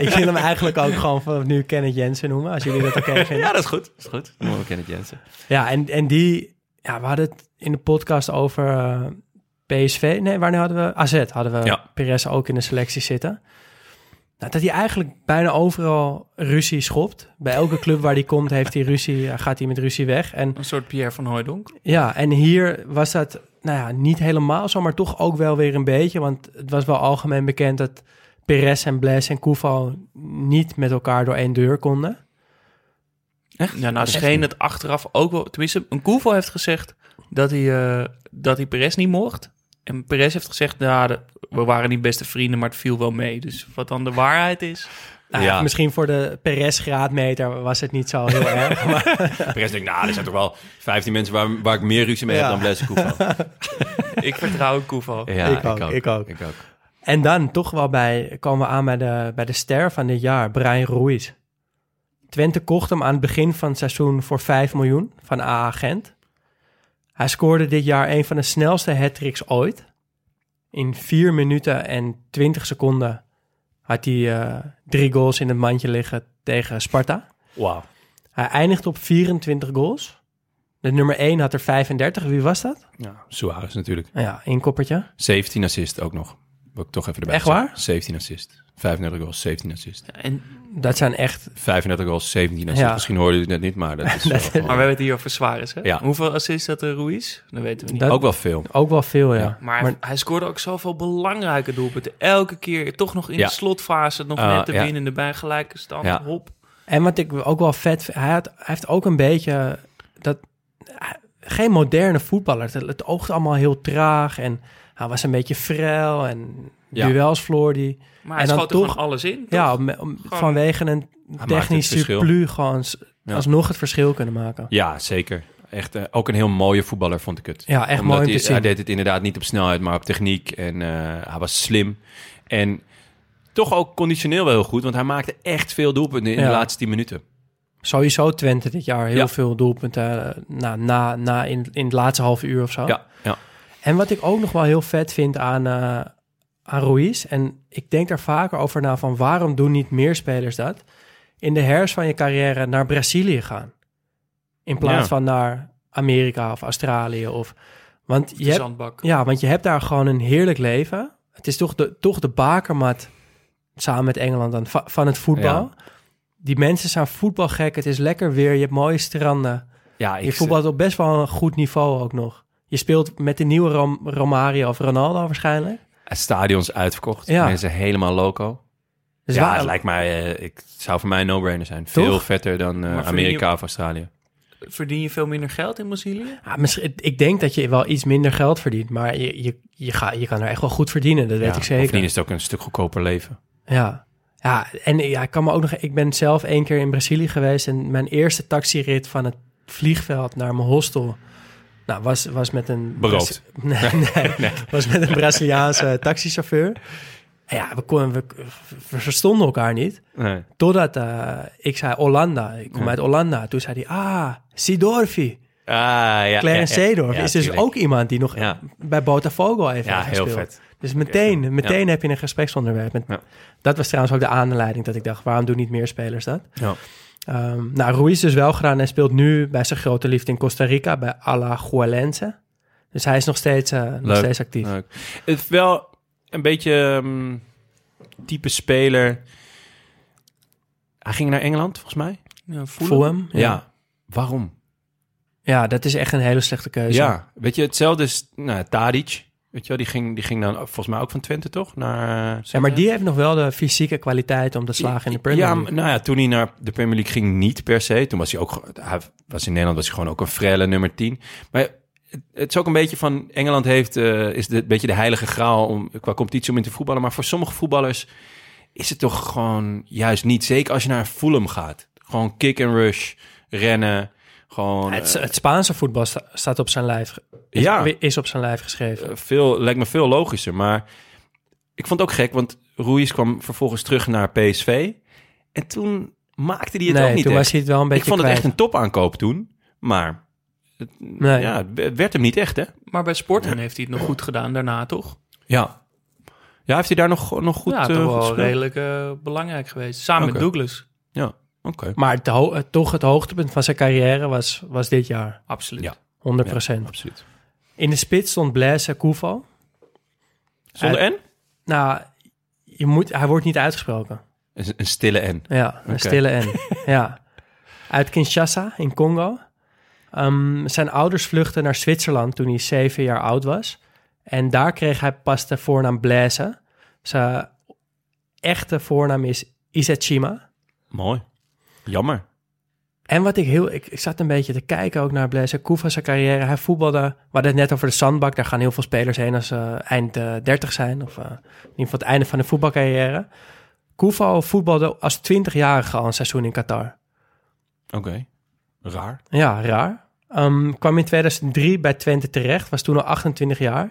S4: ik wil hem eigenlijk ook gewoon vanaf nu Kenneth Jensen noemen, als jullie dat oké vinden.
S3: Ja, dat is goed. Dat is goed. Noemen we Kenneth Jensen.
S4: Ja, en, en die... Ja, we hadden het in de podcast over eh, PSV. Nee, wanneer hadden we... AZ hadden we
S3: Ja.
S4: Perez ook in de selectie zitten. Nou, dat hij eigenlijk bijna overal ruzie schopt. Bij elke club waar hij komt heeft hij ruzie, eh, gaat hij met ruzie weg. En
S1: Een soort Pierre van Hooijdonk.
S4: Ja, en hier was dat nou ja, niet helemaal zo, maar toch ook wel weer een beetje. Want het was wel algemeen bekend dat Perez en Bles en Koevo niet met elkaar door één deur konden.
S3: Echt?
S1: Ja, nou scheen het achteraf ook wel... Tenminste, een Koevo heeft gezegd dat hij, eh, dat hij Perez niet mocht. En Perez heeft gezegd, nou, de- we waren niet beste vrienden, maar het viel wel mee. Dus wat dan de waarheid is...
S4: Nou,
S3: Ja.
S4: Misschien voor de Perez-graadmeter was het niet zo heel erg. Maar
S3: Perez denkt, nou, er zijn toch wel 15 mensen waar, waar ik meer ruzie mee
S4: Ja.
S3: heb dan Blaise Koevo.
S1: Ik vertrouw Koevo.
S3: Ja,
S4: Ik ook, ik ook.
S3: Ik ook.
S4: en dan toch wel bij, komen we aan bij de, bij de ster van dit jaar, Brian Ruiz. Twente kocht hem aan het begin van het seizoen voor 5 miljoen van AA Gent. Hij scoorde dit jaar een van de snelste hat-tricks ooit. In 4 minuten en 20 seconden had hij eh, drie goals in het mandje liggen tegen Sparta.
S3: Wauw.
S4: Hij eindigt op 24 goals. De nummer 1 had er 35. Wie was dat?
S3: Ja, Suarez natuurlijk.
S4: Nou ja, één koppertje.
S3: 17 assist ook nog. Wil ik toch even erbij
S4: Echt
S3: zeggen.
S4: waar?
S3: 17 assist. 35 goals, 17 assist.
S1: En,
S4: Dat zijn echt
S3: 35 goals, 17 assist.
S4: Ja.
S3: Misschien hoorde je het net niet, maar dat is wel gewoon-
S1: maar we hebben het hier over Suarez, hè?
S3: Ja.
S1: Hoeveel assists had de Ruiz? Dat weten we niet.
S4: Dat-
S3: ook wel veel.
S4: ook wel veel, ja.
S3: Ja,
S1: Maar, hij- hij scoorde ook zoveel belangrijke doelpunten. Elke keer toch nog in
S3: Ja.
S1: de slotfase, nog
S3: Ah,
S1: net de
S3: ja.
S1: winnende bij gelijke stand.
S3: Ja.
S1: Hop.
S4: En wat ik ook wel vet vind, hij, had, hij heeft ook een beetje dat geen moderne voetballer. Het, het oogt allemaal heel traag en hij was een beetje frail en
S3: Ja.
S4: duels verloor die.
S1: Maar
S4: En
S1: hij
S4: dan
S1: schoot er gewoon
S4: toch-
S1: alles in. toch?
S4: Ja, om- om-
S1: Gewoon-
S4: vanwege een
S3: maakt
S4: technisch
S3: het verschil.
S4: surplus gewoon s-
S3: Ja.
S4: alsnog het verschil kunnen maken.
S3: Ja, zeker. Echt, eh, ook een heel mooie voetballer vond ik het.
S4: Ja, echt
S3: Omdat
S4: mooi om
S3: hij,
S4: te zien.
S3: Hij deed het inderdaad niet op snelheid, maar op techniek. En eh, hij was slim. En toch ook conditioneel wel heel goed, want hij maakte echt veel doelpunten in
S4: Ja.
S3: de laatste 10 minuten.
S4: Sowieso Twente dit jaar heel
S3: Ja.
S4: veel doelpunten eh, na, na, na in, in het laatste half uur of zo.
S3: Ja, ja.
S4: En wat ik ook nog wel heel vet vind aan, eh aan Ruiz, en ik denk daar vaker over na van waarom doen niet meer spelers dat, in de herfst van je carrière naar Brazilië gaan. In plaats
S3: Ja.
S4: van naar Amerika of Australië. Of, want,
S1: De
S4: je hebt,
S1: zandbak.
S4: ja, want je hebt daar gewoon een heerlijk leven. Het is toch de, toch de bakermat, samen met Engeland dan, va- van het voetbal. Die mensen zijn voetbalgek, het is lekker weer, je hebt mooie stranden.
S3: ja
S4: Je
S3: ik,
S4: voetbalt op best wel een goed niveau ook nog. Je speelt met de nieuwe Rom- Romario of Ronaldo waarschijnlijk.
S3: stadions uitverkocht.
S4: Ja.
S3: Mensen helemaal loco.
S4: Dus
S3: ja,
S4: waar-
S3: het lijkt mij, eh, ik het zou voor mij een no-brainer zijn. Veel vetter dan eh,
S1: Maar voor
S3: Amerika
S1: die-
S3: of Australië.
S1: Verdien je veel minder geld in Brazilië?
S4: Ja, Ah, misschien, ik denk dat je wel iets minder geld verdient, maar je, je, je, ga, je kan er echt wel goed verdienen, dat weet
S3: Ja,
S4: ik
S3: Of
S4: zeker.
S3: niet is het ook een stuk goedkoper leven.
S4: Ja. ja, en ja, ik kan me ook nog. Ik ben zelf één keer in Brazilië geweest en mijn eerste taxirit van het vliegveld naar mijn hostel Nou, was, was met een...
S3: Beroofd.
S4: Nee, nee, was met een Braziliaanse taxichauffeur. En Ja, we, kon, we, we verstonden elkaar niet.
S3: Nee.
S4: Totdat eh, ik zei Hollanda. Ik kom
S3: Ja.
S4: uit Hollanda. Toen zei hij, ah, Sidorfi.
S3: Ah, ja.
S4: Clarence
S3: ja, ja.
S4: Seedorf
S3: Ja,
S4: is dus
S3: tuurlijk.
S4: ook iemand die nog
S3: Ja.
S4: bij Botafogo heeft
S3: Ja, heel
S4: gespeeld.
S3: vet.
S4: Dus meteen,
S3: Ja.
S4: meteen heb je een gespreksonderwerp. En
S3: Ja.
S4: Dat was trouwens ook de aanleiding dat ik dacht, waarom doen niet meer spelers dat?
S3: Ja.
S4: Ehm, nou, Ruiz is wel gedaan en speelt nu bij zijn grote liefde in Costa Rica bij Alajuelense. Dus hij is nog steeds, eh, nog
S3: Leuk.
S4: steeds actief.
S3: Leuk. Het is wel een beetje ehm, type speler. Hij ging naar Engeland, volgens mij.
S4: Fulham.
S3: Ja. Waarom?
S4: Ja, dat is echt een hele slechte keuze.
S3: Ja. Weet je, hetzelfde is nou, Tadic. Weet je wel, die ging, die ging dan volgens mij ook van Twente, toch? Naar, eh,
S4: Ja, maar die heeft nog wel de fysieke kwaliteit om te slagen in de Premier
S3: Ja,
S4: League.
S3: maar- nou ja, toen hij naar de Premier League ging, niet per se. Toen was hij ook, ge- hij was in Nederland was hij gewoon ook een frelle nummer 10. Maar het, het is ook een beetje van, Engeland heeft, eh, is de, een beetje de heilige graal om, qua competitie om in te voetballen. Maar voor sommige voetballers is het toch gewoon juist niet. Zeker als je naar Fulham gaat. Gewoon kick and rush, rennen, gewoon...
S4: het,
S3: eh,
S4: het Spaanse voetbal sta- staat op zijn lijf, ge- is,
S3: ja.
S4: is op zijn lijf geschreven.
S3: Eh, veel, lijkt me veel logischer. Maar ik vond het ook gek, want Ruiz kwam vervolgens terug naar PSV. En toen maakte hij het ook
S4: nee,
S3: niet
S4: toen
S3: echt.
S4: was hij het wel een beetje
S3: Ik vond het
S4: kwijt.
S3: echt een topaankoop toen. Maar het,
S4: Nee.
S3: ja, het w- werd hem niet echt, hè?
S1: Maar bij Sporting heeft hij het nog goed gedaan daarna, toch?
S3: Ja. Ja, heeft hij daar nog, nog goed,
S1: ja,
S3: eh,
S1: toch
S3: goed
S1: wel
S3: gespeeld?
S1: redelijk eh, belangrijk geweest. Samen
S3: Oké.
S1: met Douglas.
S3: Ja, oké.
S4: Maar het ho- het- toch het hoogtepunt van zijn carrière was, was dit jaar.
S1: Absoluut.
S3: Ja.
S4: 100
S3: Absoluut.
S4: In de spits stond Blaise Koevo.
S3: Zonder N?
S4: Nou, je moet, hij wordt niet uitgesproken.
S3: Een, een stille N.
S4: Ja, een
S3: Oké.
S4: stille N. ja. Uit Kinshasa in Congo. Ehm, zijn ouders vluchtten naar Zwitserland toen hij zeven jaar oud was. En daar kreeg hij pas de voornaam Blaise. Zijn echte voornaam is Isachima.
S3: Mooi. Jammer.
S4: En wat ik heel... Ik, ik zat een beetje te kijken ook naar Blaise Koeva's carrière. Hij voetbalde... We hadden het net over de zandbak. Daar gaan heel veel spelers heen als ze eind eh, 30 zijn. Of eh, in ieder geval het einde van de voetbalcarrière. Koeva voetbalde als 20-jarige al een seizoen in Qatar.
S3: Oké. Raar.
S4: Ja, raar. Ehm, kwam in 2003 bij Twente terecht. Was toen al 28 jaar.
S1: Maar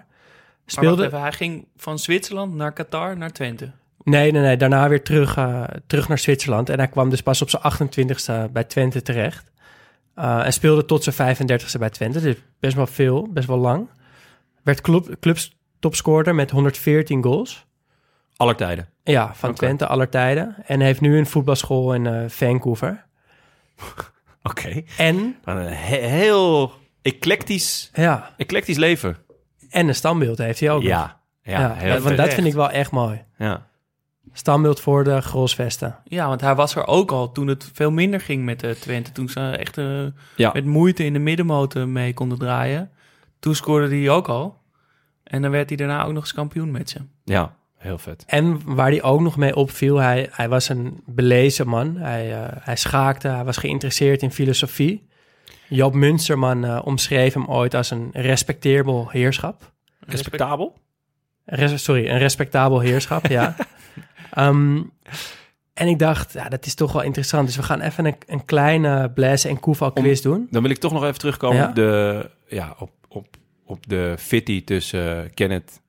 S1: wacht
S4: Speelde...
S1: even, hij ging van Zwitserland naar Qatar naar Twente.
S4: Nee, nee, nee. Daarna weer terug, eh, terug naar Zwitserland. En hij kwam dus pas op zijn 28ste bij Twente terecht. Eh, en speelde tot zijn 35ste bij Twente. Dus best wel veel, best wel lang. Werd club, clubs topscorer met 114 goals.
S3: Aller tijden.
S4: Ja, van
S3: Oké.
S4: Twente aller tijden. En heeft nu een voetbalschool in eh, Vancouver.
S3: Oké.
S4: En,
S3: Een he- heel eclectisch,
S4: ja,
S3: eclectisch leven.
S4: en een standbeeld heeft hij ook. nog.
S3: Ja. Ja, heel
S4: want
S3: vet.
S4: dat vind ik wel echt mooi.
S3: Ja.
S4: Standbeeld voor de Grolsvesten.
S1: Ja, want hij was er ook al toen het veel minder ging met eh, Twente. Toen ze echt eh,
S3: Ja.
S1: met moeite in de middenmotor mee konden draaien. Toen scoorde hij ook al. En dan werd hij daarna ook nog eens kampioen met ze.
S3: ja, heel vet.
S4: En waar hij ook nog mee opviel, hij, hij was een belezen man. Hij, eh, hij schaakte, hij was geïnteresseerd in filosofie. Joop Munsterman eh, omschreef hem ooit als een respecteerbel heerschap.
S3: Respectabel?
S4: Res- sorry, een respectabel heerschap, ja. Ehm, en ik dacht, ja, dat is toch wel interessant. Dus we gaan even een, een kleine Blaise en Koeval quiz doen.
S3: Dan wil ik toch nog even terugkomen
S4: Ja.
S3: op de, ja, op, op, op de fitty tussen eh, Kenneth.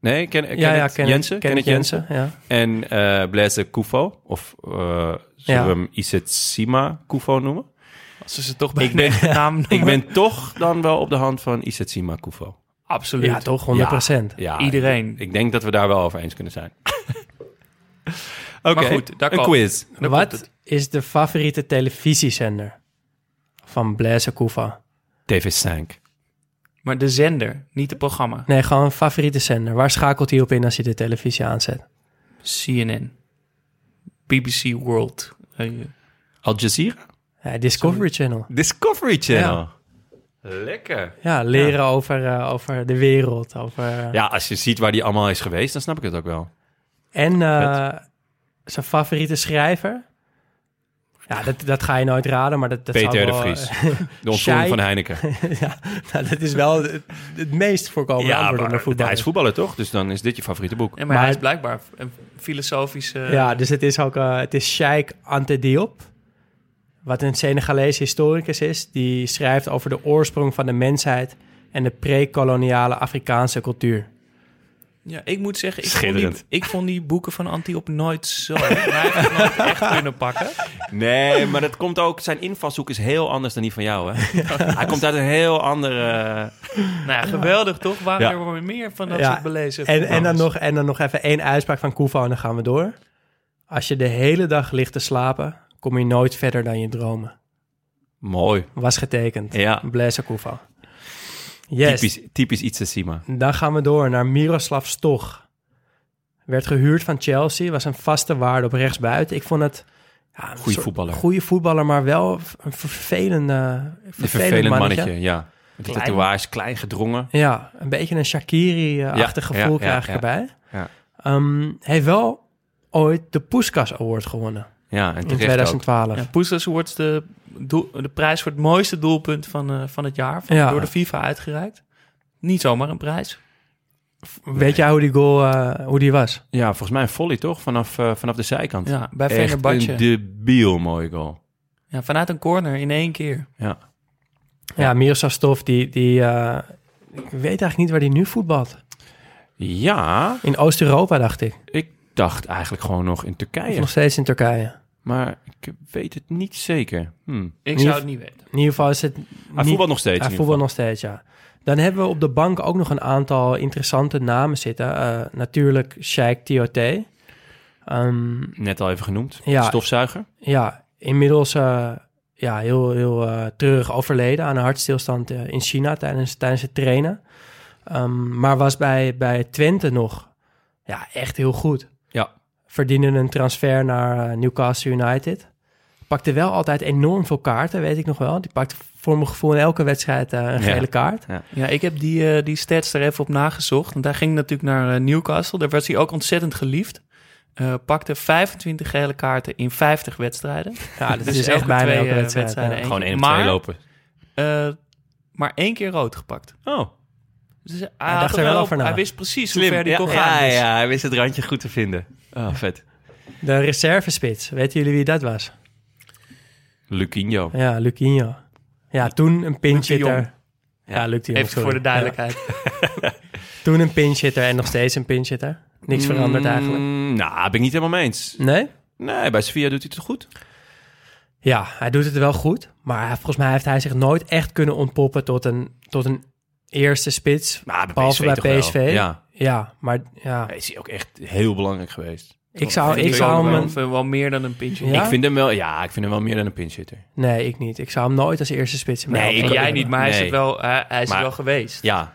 S3: Nee, Ken, Kenneth,
S4: Kenneth-
S3: Jensen, Kenneth Jensen.
S4: Ja.
S3: En eh Blaise Koufo. Of eh zullen
S4: Ja.
S3: we hem Isetsima Koufo noemen?
S1: Als ze ze toch bij
S3: Ik ben-
S1: de naam noemen.
S3: Ik ben toch dan wel op de hand van Isetsima Koufo.
S1: Absoluut.
S4: ja, toch, 100 procent.
S3: Ja,
S1: Iedereen.
S3: Ik, ik denk dat we daar wel over eens kunnen zijn. Oké,
S1: goed, daar
S3: een
S1: komt-
S3: quiz.
S1: Daar komt
S4: Wat
S1: het.
S4: is de favoriete televisiezender van Blaise Koeval?
S3: TV5.
S1: Maar de zender, niet het programma.
S4: Nee, gewoon een favoriete zender. Waar schakelt hij op in als hij de televisie aanzet?
S1: CNN. BBC World. Eh,
S3: Al Jazeera?
S4: Ja, Discovery Channel.
S3: Discovery Channel. Lekker.
S4: Ja, leren Over, eh, over de wereld. Over...
S3: Ja, als je ziet waar die allemaal is geweest, dan snap ik het ook wel.
S4: En eh, zijn favoriete schrijver? Ja, dat, dat ga je nooit raden, maar dat, dat zou
S3: Peter de
S4: wel,
S3: Vries. De
S4: Shai-
S3: ontvoering van Heineken.
S4: ja, nou, dat is wel het, het meest voorkomende antwoord op de voetbal.
S3: hij is voetballer toch? Dus dan is dit je favoriete boek.
S1: nee, maar,
S4: Maar-
S1: hij is blijkbaar een filosofische...
S4: Ja, dus het is ook eh, het is Sheikh Ante Diop. Wat een Senegalese historicus is. Die schrijft over de oorsprong van de mensheid. en de pre-koloniale Afrikaanse cultuur.
S1: Ja, ik moet zeggen, ik, Vond,
S3: Schitterend.
S1: die, ik vond die boeken van Antiop nooit zo. Maar hij heeft het nooit echt kunnen pakken.
S3: Nee, maar dat komt ook. Zijn invalshoek is heel anders dan die van jou. Hè? Hij komt uit een heel andere. eh,
S1: Nou ja, geweldig toch? Waren
S3: Ja.
S1: er maar meer van dat
S4: Ja,
S1: soort belezen?
S4: En, en, dan
S1: programma's?
S4: nog, en dan nog even één uitspraak van Koevo en dan gaan we door. Als je de hele dag ligt te slapen, kom je nooit verder dan je dromen.
S3: Mooi.
S4: Was getekend.
S3: Ja.
S4: Blaise Koevo. Yes.
S3: Typisch, typisch iets Sima.
S4: Dan gaan we door naar Miroslav Stoch. Werd gehuurd van Chelsea, was een vaste waarde op rechtsbuiten. Ik vond het... Ja, een
S3: Goeie
S4: soort-
S3: voetballer.
S4: Goeie voetballer, maar wel een vervelende, vervelend,
S3: Een vervelend mannetje,
S4: mannetje.
S3: ja. Met die
S1: Klein.
S3: tatoeage, klein gedrongen.
S4: Ja, een beetje een Shakiri-achtig
S3: Ja, ja,
S4: gevoel
S3: ja,
S4: krijg ik
S3: ja.
S4: erbij.
S3: Ja.
S4: Ehm, heeft wel ooit de Poeskas Award gewonnen
S3: Ja, en
S4: in
S3: terecht ook.
S4: 2012.
S1: Ja, Poestas wordt de, doel- de prijs voor het mooiste doelpunt van, eh, van het jaar. van-
S4: Ja.
S1: Door de FIFA uitgereikt. Niet zomaar een prijs.
S4: Weet jij hoe die goal eh, hoe die was?
S3: Ja, volgens mij een volley toch? Vanaf, eh, vanaf de zijkant.
S1: Ja, bij
S3: Echt
S1: Fenerbahce.
S3: een debiel mooie goal.
S1: Ja, vanuit een corner in één keer.
S3: Ja.
S4: Ja, Miroslav Stof, die, die eh, ik weet eigenlijk niet waar die nu voetbalt.
S3: ja,
S4: In Oost-Europa, dacht ik.
S3: ik dacht eigenlijk gewoon nog in
S4: Of
S3: Turkije.
S4: nog steeds in Turkije.
S3: Maar ik weet het niet zeker. Hm.
S1: Ik
S4: Niet-
S1: zou het niet weten.
S4: In ieder geval is het...
S3: Hij voetbalt nog steeds.
S4: Hij
S3: in ieder
S4: voetbalt nog steeds, ja. Dan hebben we op de bank ook nog een aantal interessante namen zitten. Eh, natuurlijk Sheikh Tiote. Ehm
S3: geval. Net al even genoemd.
S4: Ja.
S3: Stofzuiger.
S4: ja, inmiddels eh, ja, heel, heel eh, treurig overleden aan een hartstilstand eh, in China tijdens, tijdens het trainen. Ehm, maar was bij, bij Twente nog ja, echt heel goed.
S3: Ja.
S4: Verdiende een transfer naar eh, Newcastle United. Pakte wel altijd enorm veel kaarten, weet ik nog wel. Die pakte voor mijn gevoel in elke wedstrijd eh, een
S3: Ja.
S4: gele kaart.
S1: Ja, ik heb die, eh, die stats er even op nagezocht. Want hij ging natuurlijk naar eh, Newcastle. Daar was hij ook ontzettend geliefd. Eh, pakte 25 gele kaarten in 50 wedstrijden.
S4: Ja, dat
S1: Dus
S4: is
S1: elke
S4: echt bijna
S1: twee,
S4: elke
S1: eh,
S4: wedstrijd.
S1: wedstrijden
S4: ja.
S1: één.
S3: Gewoon één op
S1: Maar-
S3: twee lopen.
S1: Eh, maar één keer rood gepakt.
S3: Oh,
S1: Dus hij,
S4: dacht
S1: had
S4: er
S1: er
S4: wel
S1: wel
S4: over na.
S1: hij wist precies hoe ver hij
S3: ja,
S1: kon
S3: ja,
S1: gaan. Dus-
S3: ja, hij wist het randje goed te vinden. Oh, vet.
S4: De reservespits, weten jullie wie dat was?
S3: Lucinho.
S4: Ja, Lucinho. Ja, toen een pinch
S1: Luc de Jong.
S4: hitter. Ja, Luc de Jong,
S1: Dus Even
S4: sorry.
S1: voor de duidelijkheid.
S4: Ja, toen een pinch hitter en nog steeds een pinch hitter. Niks veranderd
S3: Mm,
S4: eigenlijk.
S3: Nou, ben ik niet helemaal mee eens.
S4: Nee?
S3: Nee, bij Sevilla doet hij het goed.
S4: Ja, hij doet het wel goed. Maar hij- volgens mij heeft hij zich nooit echt kunnen ontpoppen tot een, tot een eerste spits.
S3: Maar Nou, bij
S4: Behalve
S3: PSV
S4: bij
S3: toch wel.
S4: PSV.
S3: Ja.
S4: Ja, maar ja,
S3: Hij is hij ook echt heel belangrijk geweest.
S4: ik zou, ik zou
S1: ook
S4: hem...
S1: wel,
S4: een-
S1: wel- wel meer dan een pintje.
S4: Ja?
S3: Ik vind hem wel, ja, ik vind hem wel meer dan een pinchitter.
S4: Nee, ik niet. Ik zou hem nooit als eerste spits hebben.
S3: Nee,
S1: En
S3: ik-
S1: jij niet, maar hij is
S3: Nee.
S1: het wel, hij, hij is het
S3: Maar-
S1: wel geweest.
S3: Ja.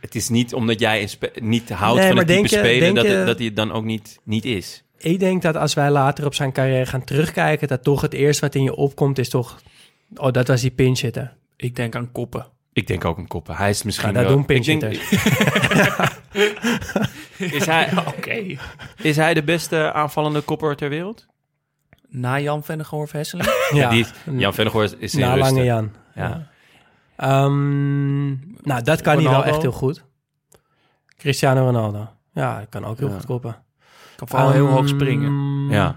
S3: Het is niet omdat jij een spe- niet houdt
S4: Nee,
S3: van
S4: maar
S3: het type
S4: denk je-
S3: spelen
S4: denk
S3: dat,
S4: je-
S3: het- dat hij het dan ook niet, niet is.
S4: Ik denk dat als wij later op zijn carrière gaan terugkijken... dat toch het eerste wat in je opkomt is toch... Oh, dat was die pinch hitter.
S1: Ik denk aan koppen.
S3: Ik denk ook een koppen. Hij is misschien
S4: Ja, dat
S3: wel...
S4: Nou, doen
S3: ik denk-
S4: pinchhitters.
S3: is, hij,
S1: Oké.
S3: is hij de beste aanvallende kopper ter wereld?
S1: Na Jan Vennegoor Hesseling?
S3: Ja, die is- Jan Vennegoor is in
S4: Na
S3: rusten.
S4: Lange Jan.
S3: Ja.
S4: Ehm, nou, dat kan hij
S1: Ronaldo.
S4: wel echt heel goed. Cristiano Ronaldo. Ja, dat kan ook heel
S3: Ja.
S4: goed koppen.
S1: Kan vooral heel hoog springen.
S4: Ehm,
S3: ja.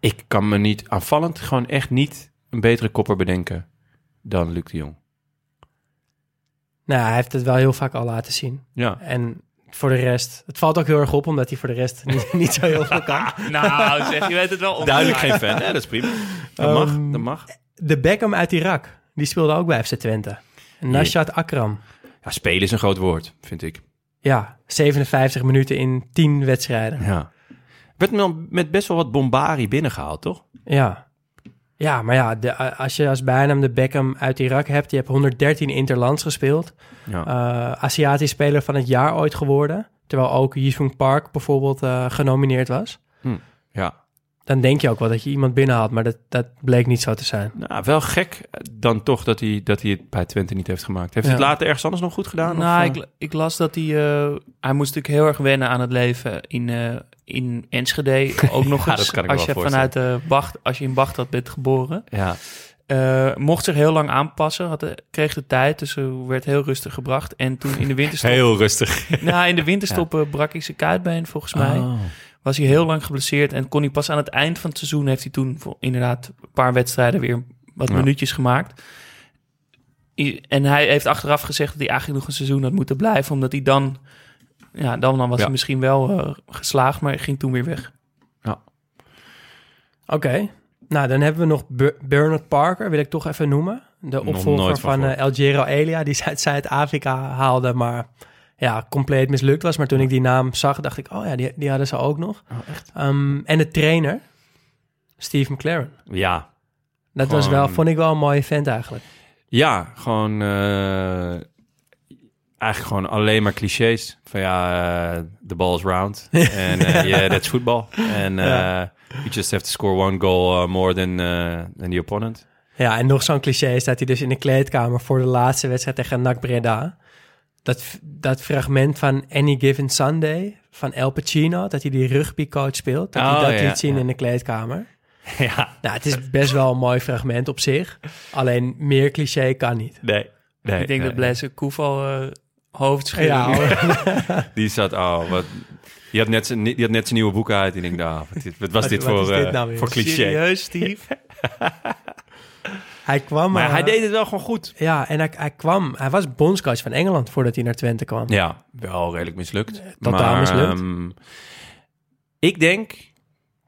S3: Ik kan me niet aanvallend gewoon echt niet een betere kopper bedenken dan Luc de Jong.
S4: Nou, hij heeft het wel heel vaak al laten zien.
S3: Ja.
S4: En voor de rest... Het valt ook heel erg op, omdat hij voor de rest niet, niet zo heel veel kan.
S1: Nou, zeg, je weet het wel. omgedraaid.
S3: Duidelijk geen fan. Ja, dat is prima. Dat
S4: Ehm,
S3: mag, dat mag.
S4: De Beckham uit Irak. Die speelde ook bij FC Twente. Nashat Akram.
S3: Ja, spelen is een groot woord, vind ik.
S4: Ja, 57 minuten in 10 wedstrijden.
S3: Ja. Werd me dan met best wel wat bombari binnengehaald, toch?
S4: Ja. Ja, maar ja, de, als je als bijnaam de Beckham uit Irak hebt... die hebt 113 interlands gespeeld.
S3: Ja.
S4: eh Aziatisch speler van het jaar ooit geworden. Terwijl ook Yishun Park bijvoorbeeld eh, genomineerd was.
S3: Hm, ja.
S4: Dan denk je ook wel dat je iemand binnenhaalt, maar dat, dat bleek niet zo te zijn.
S3: Nou, wel gek eh, dan toch dat hij, dat hij het bij Twente niet heeft gemaakt. Heeft hij
S4: Ja.
S3: het later ergens anders nog goed gedaan?
S1: Nou,
S3: of, eh?
S1: ik, ik las dat hij... eh, hij moest natuurlijk heel erg wennen aan het leven in, eh, in Enschede. Ook nog
S3: Ja,
S1: eens
S3: dat kan ik me
S1: als je
S3: wel
S1: vanuit de Bacht, als je in Bagdad bent geboren.
S3: Ja.
S1: Eh, mocht zich heel lang aanpassen. Had, de- kreeg de tijd, dus eh, werd heel rustig gebracht. En toen in de winterstop...
S3: Heel rustig.
S1: Nou, in de winterstop eh, brak hij zijn kuitbeen volgens
S3: Oh.
S1: mij. was hij heel lang geblesseerd en kon hij pas aan het eind van het seizoen heeft hij toen voor inderdaad een paar wedstrijden weer wat
S3: Ja.
S1: minuutjes gemaakt. I- En hij heeft achteraf gezegd dat hij eigenlijk nog een seizoen had moeten blijven. Omdat hij dan... Ja, dan, dan was
S3: Ja.
S1: hij misschien wel eh, geslaagd, maar hij ging toen weer weg.
S4: Oké. Nou, dan hebben we nog Ber- Bernard Parker, wil ik toch even noemen. De
S3: Nog
S4: opvolger
S3: nooit van
S4: van, eh, El Giro Elia, die ze uit Zuid-Afrika haalde, maar ja, compleet mislukt was. Maar toen ik die naam zag, dacht ik, oh ja, die, die hadden ze ook nog.
S3: Oh,
S4: Ehm, en de trainer, Steve McLaren.
S3: Ja,
S4: Dat was wel,
S3: Gewoon-
S4: vond ik wel een mooie vent eigenlijk.
S3: Ja, gewoon. eh, eigenlijk gewoon alleen maar clichés. Van ja, eh, the ball is round. En eh, yeah, that's football. En eh,
S4: Ja.
S3: you just have to score one goal uh, more than, eh, than the opponent.
S4: Ja, en nog zo'n cliché is dat hij dus in de kleedkamer voor de laatste wedstrijd tegen NAC Breda... Dat, dat fragment van Any Given Sunday van El Pacino, dat hij die rugbycoach speelt, dat hij
S3: Oh,
S4: dat
S3: ja,
S4: liet zien
S3: ja.
S4: in de kleedkamer.
S3: ja,
S4: Nou, het is best wel een mooi fragment op zich. Alleen meer cliché kan niet.
S3: nee. nee
S1: ik denk
S3: nee.
S1: dat Blaise Koeval eh hoofdschudden.
S4: Ja,
S3: Die zat, oh, wat. Die had, net zijn, die had net zijn nieuwe boek uit. En ik dacht, ah, wat, dit- wat was
S4: Wat-
S3: dit,
S4: wat
S3: voor,
S4: is dit
S3: eh,
S4: nou weer?
S3: voor cliché?
S1: Serieus, Steve?
S4: hij kwam...
S3: Maar
S4: eh,
S3: hij deed het wel gewoon goed.
S4: Ja, en hij, hij kwam... Hij was bondscoach van Engeland voordat hij naar Twente kwam.
S3: Ja, wel redelijk mislukt.
S4: totaal
S3: maar,
S4: mislukt.
S3: ehm, ik denk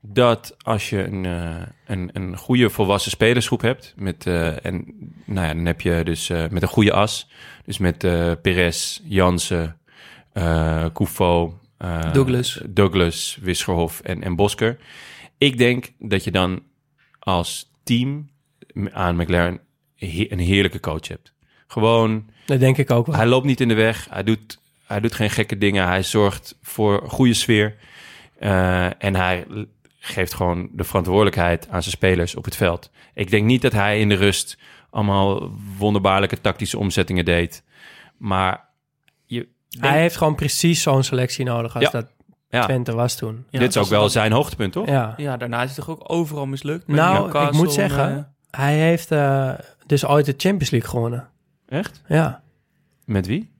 S3: dat als je een, eh, een, een goede volwassen spelersgroep hebt, met, eh, en nou ja, dan heb je dus eh, met een goede as, dus met eh Perez, Jansen, eh Koufo, eh,
S1: Douglas.
S3: Douglas, Wischerhof en, en Bosker. Ik denk dat je dan als team aan McLaren he- een heerlijke coach hebt. Gewoon
S4: Dat denk ik ook wel.
S3: hij loopt niet in de weg. Hij doet, hij doet geen gekke dingen. Hij zorgt voor een goede sfeer. Eh, en hij l- geeft gewoon de verantwoordelijkheid aan zijn spelers op het veld. Ik denk niet dat hij in de rust allemaal wonderbaarlijke tactische omzettingen deed. Maar je,
S4: Hij heeft gewoon precies zo'n selectie nodig als
S3: Ja.
S4: dat
S3: ja,
S4: Twente was toen.
S1: Ja,
S3: dit is
S1: dat
S3: ook wel zijn hoogtepunt, toch?
S4: Ja.
S1: Ja, daarna is het toch ook overal mislukt? Met
S4: Nou, ik
S1: Newcastle,
S4: moet zeggen,
S1: eh,
S4: hij heeft eh, dus ooit de Champions League gewonnen.
S3: Echt?
S4: Ja,
S3: Met wie?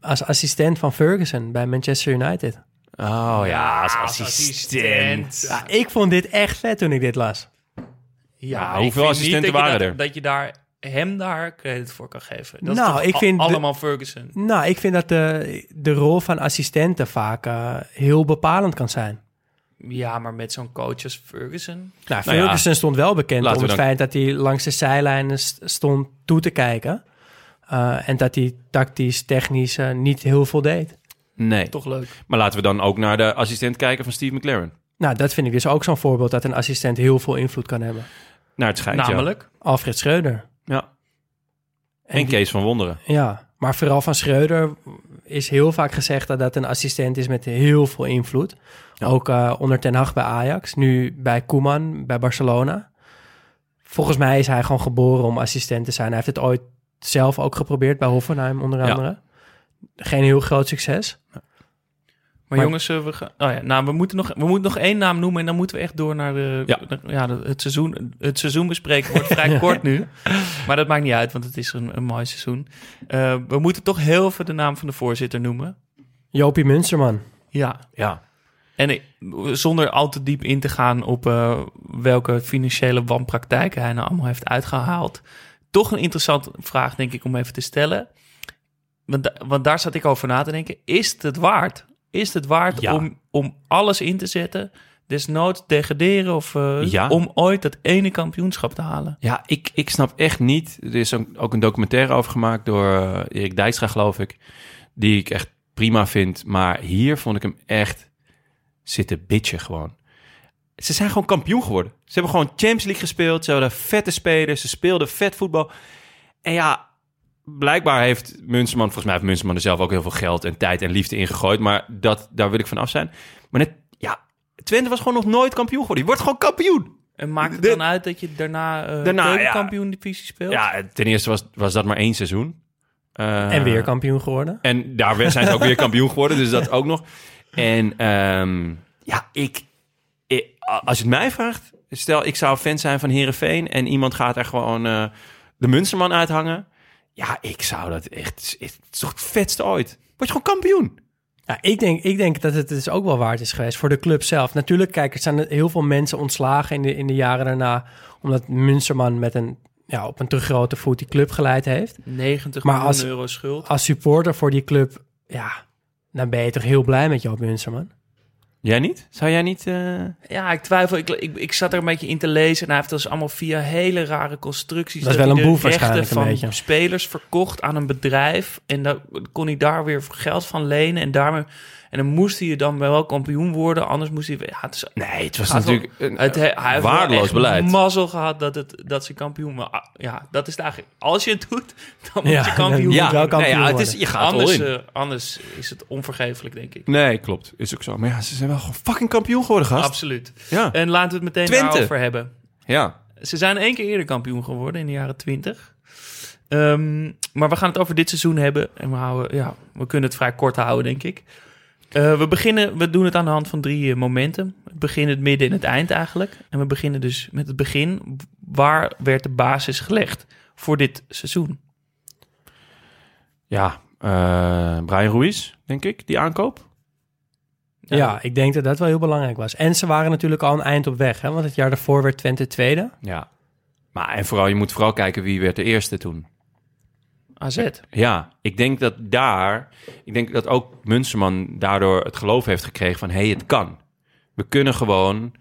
S4: als assistent van Ferguson bij Manchester United.
S3: Oh ja, als
S1: als assistent.
S3: assistent.
S4: Ja, ik vond dit echt vet toen ik dit las.
S3: Ja,
S1: ik
S3: hoeveel
S1: vind niet
S3: assistenten
S1: dat je
S3: waren
S1: dat-
S3: er?
S1: Dat je daar hem daar credit voor kan geven. Dat
S4: Nou,
S1: is toch
S4: ik
S1: al-
S4: vind de-
S1: allemaal Ferguson.
S4: Nou, ik vind dat de, de rol van assistenten vaak eh, heel bepalend kan zijn.
S1: Ja, maar met zo'n coach als Ferguson.
S4: Nou,
S3: Nou ja,
S4: Ferguson stond wel bekend
S3: laten
S4: om
S3: we
S4: het
S3: dan-
S4: feit dat hij langs de zijlijnen s- stond toe te kijken. Eh, en dat hij tactisch, technisch eh, niet heel veel deed.
S3: Nee.
S1: Toch leuk.
S3: Maar laten we dan ook naar de assistent kijken van Steve McLaren.
S4: Nou, dat vind ik dus ook zo'n voorbeeld dat een assistent heel veel invloed kan hebben.
S3: Naar het schijnt, ja.
S1: Namelijk.
S4: Alfred Schreuder.
S3: Ja.
S4: En
S3: En
S4: die-
S3: Kees van Wonderen.
S4: Ja, maar vooral van Schreuder is heel vaak gezegd dat dat een assistent is met heel veel invloed. Ook eh, onder Ten Hag bij Ajax, nu bij Koeman bij Barcelona. Volgens mij is hij gewoon geboren om assistent te zijn. Hij heeft het ooit zelf ook geprobeerd bij Hoffenheim onder
S3: Ja.
S4: andere. Geen heel groot succes.
S1: Maar,
S4: Maar-
S1: jongens, eh, we, gaan, oh ja, nou, we, moeten nog, we moeten nog één naam noemen en dan moeten we echt door naar, de,
S3: Ja.
S1: naar- ja, de- het seizoen. Het seizoen bespreken wordt vrij kort nu. Maar dat maakt niet uit, want het is een, een mooi seizoen. Eh, we moeten toch heel even de naam van de voorzitter noemen.
S4: Jopie Munsterman.
S1: Ja,
S3: Ja.
S1: En ik- zonder al te diep in te gaan op eh, welke financiële wanpraktijken hij nou allemaal heeft uitgehaald. Toch een interessante vraag, denk ik, om even te stellen. Want, da- want daar zat ik over na te denken. Is het het waard? Is het waard
S3: Ja.
S1: om, om alles in te zetten? Desnoods degraderen of eh,
S3: Ja.
S1: om ooit dat ene kampioenschap te halen?
S3: Ja, ik, ik snap echt niet. Er is ook, ook een documentaire over gemaakt door eh, Erik Dijkstra, geloof ik. Die ik echt prima vind. Maar hier vond ik hem echt zitten bitchen gewoon. Ze zijn gewoon kampioen geworden. Ze hebben gewoon Champions League gespeeld. Ze hadden vette spelers. Ze speelden vet voetbal. En ja, blijkbaar heeft Munsterman... Volgens mij heeft Munsterman er zelf ook heel veel geld en tijd en liefde in gegooid. Maar dat, daar wil ik van af zijn. Maar net, ja, Twente was gewoon nog nooit kampioen geworden. Je wordt gewoon kampioen.
S1: En maakt het
S3: De-
S1: dan uit dat je daarna, eh
S3: Daarna,
S1: tweede
S3: ja.
S1: kampioen-divisie speelt?
S3: Ja, ten eerste was, was dat maar één seizoen. Eh,
S4: en weer kampioen geworden.
S3: En daar werd- zijn ze ook weer kampioen geworden, dus dat ook nog. En ehm, ja, ik, ik- a- als je het mij vraagt, stel ik zou fan zijn van Herenveen en iemand gaat er gewoon eh, de Munsterman uithangen. Ja, ik zou dat echt, het is toch het vetste ooit. Word je gewoon kampioen.
S4: Ja, ik, denk, ik denk dat het dus ook wel waard is geweest voor de club zelf. Natuurlijk, kijk, er zijn heel veel mensen ontslagen in de, in de jaren daarna. Omdat Munsterman met een ja, op een te grote voet die club geleid heeft.
S1: 90
S4: Maar
S1: miljoen
S4: als-
S1: euro schuld.
S4: Als supporter voor die club, ja, dan ben je toch heel blij met Joop Munsterman.
S3: Jij niet? Zou jij niet... eh,
S1: Ja, ik twijfel. Ik, ik, ik zat er een beetje in te lezen. En hij heeft dus allemaal via hele rare constructies.
S4: Dat is wel
S1: hij
S4: een
S1: de
S4: boef
S1: rechten
S4: waarschijnlijk een
S1: van
S4: beetje.
S1: spelers verkocht aan een bedrijf. En dan kon hij daar weer geld van lenen. En, daarmee, en dan moest hij dan wel kampioen worden. Anders moest hij... Ja, het is
S3: Nee, het was
S1: Gaat wel-
S3: natuurlijk een,
S1: Het, he- hij heeft wel
S3: waardeloos
S1: echt
S3: beleid.
S1: mazzel gehad dat, het, dat ze kampioen... Maar ah, ja, dat is het eigenlijk... Als je het doet, dan
S4: Ja,
S1: moet je kampioen
S4: dan-
S3: ja,
S4: moet wel kampioen
S3: nee, ja, het is,
S4: worden.
S3: je gaat
S1: anders,
S3: al in.
S1: eh, anders is het onvergeeflijk, denk ik.
S3: nee, klopt. Is ook zo. Maar ja, ze zijn wel gewoon fucking kampioen geworden, gast.
S1: Absoluut.
S3: Ja.
S1: En laten we het meteen
S3: Twente.
S1: daarover hebben.
S3: ja.
S1: Ze zijn één keer eerder kampioen geworden in de jaren 20. Ehm, maar we gaan het over dit seizoen hebben. En we, houden, ja, we kunnen het vrij kort houden, denk ik. Eh, we, beginnen, we doen het aan de hand van drie eh, momenten. Het begin, het midden en het eind eigenlijk. En we beginnen dus met het begin. Waar werd de basis gelegd voor dit seizoen?
S3: Ja, eh, Brian Ruiz, denk ik, die aankoop.
S4: Ja. ik denk dat dat wel heel belangrijk was. En ze waren natuurlijk al een eind op weg, hè, want het jaar daarvoor werd Twente tweede.
S3: Ja. Maar en vooral, je moet vooral kijken wie werd de eerste toen.
S1: AZ.
S3: Ja, ik denk dat daar, ik denk dat ook Munsterman daardoor het geloof heeft gekregen van, hé, hey, het kan. We kunnen gewoon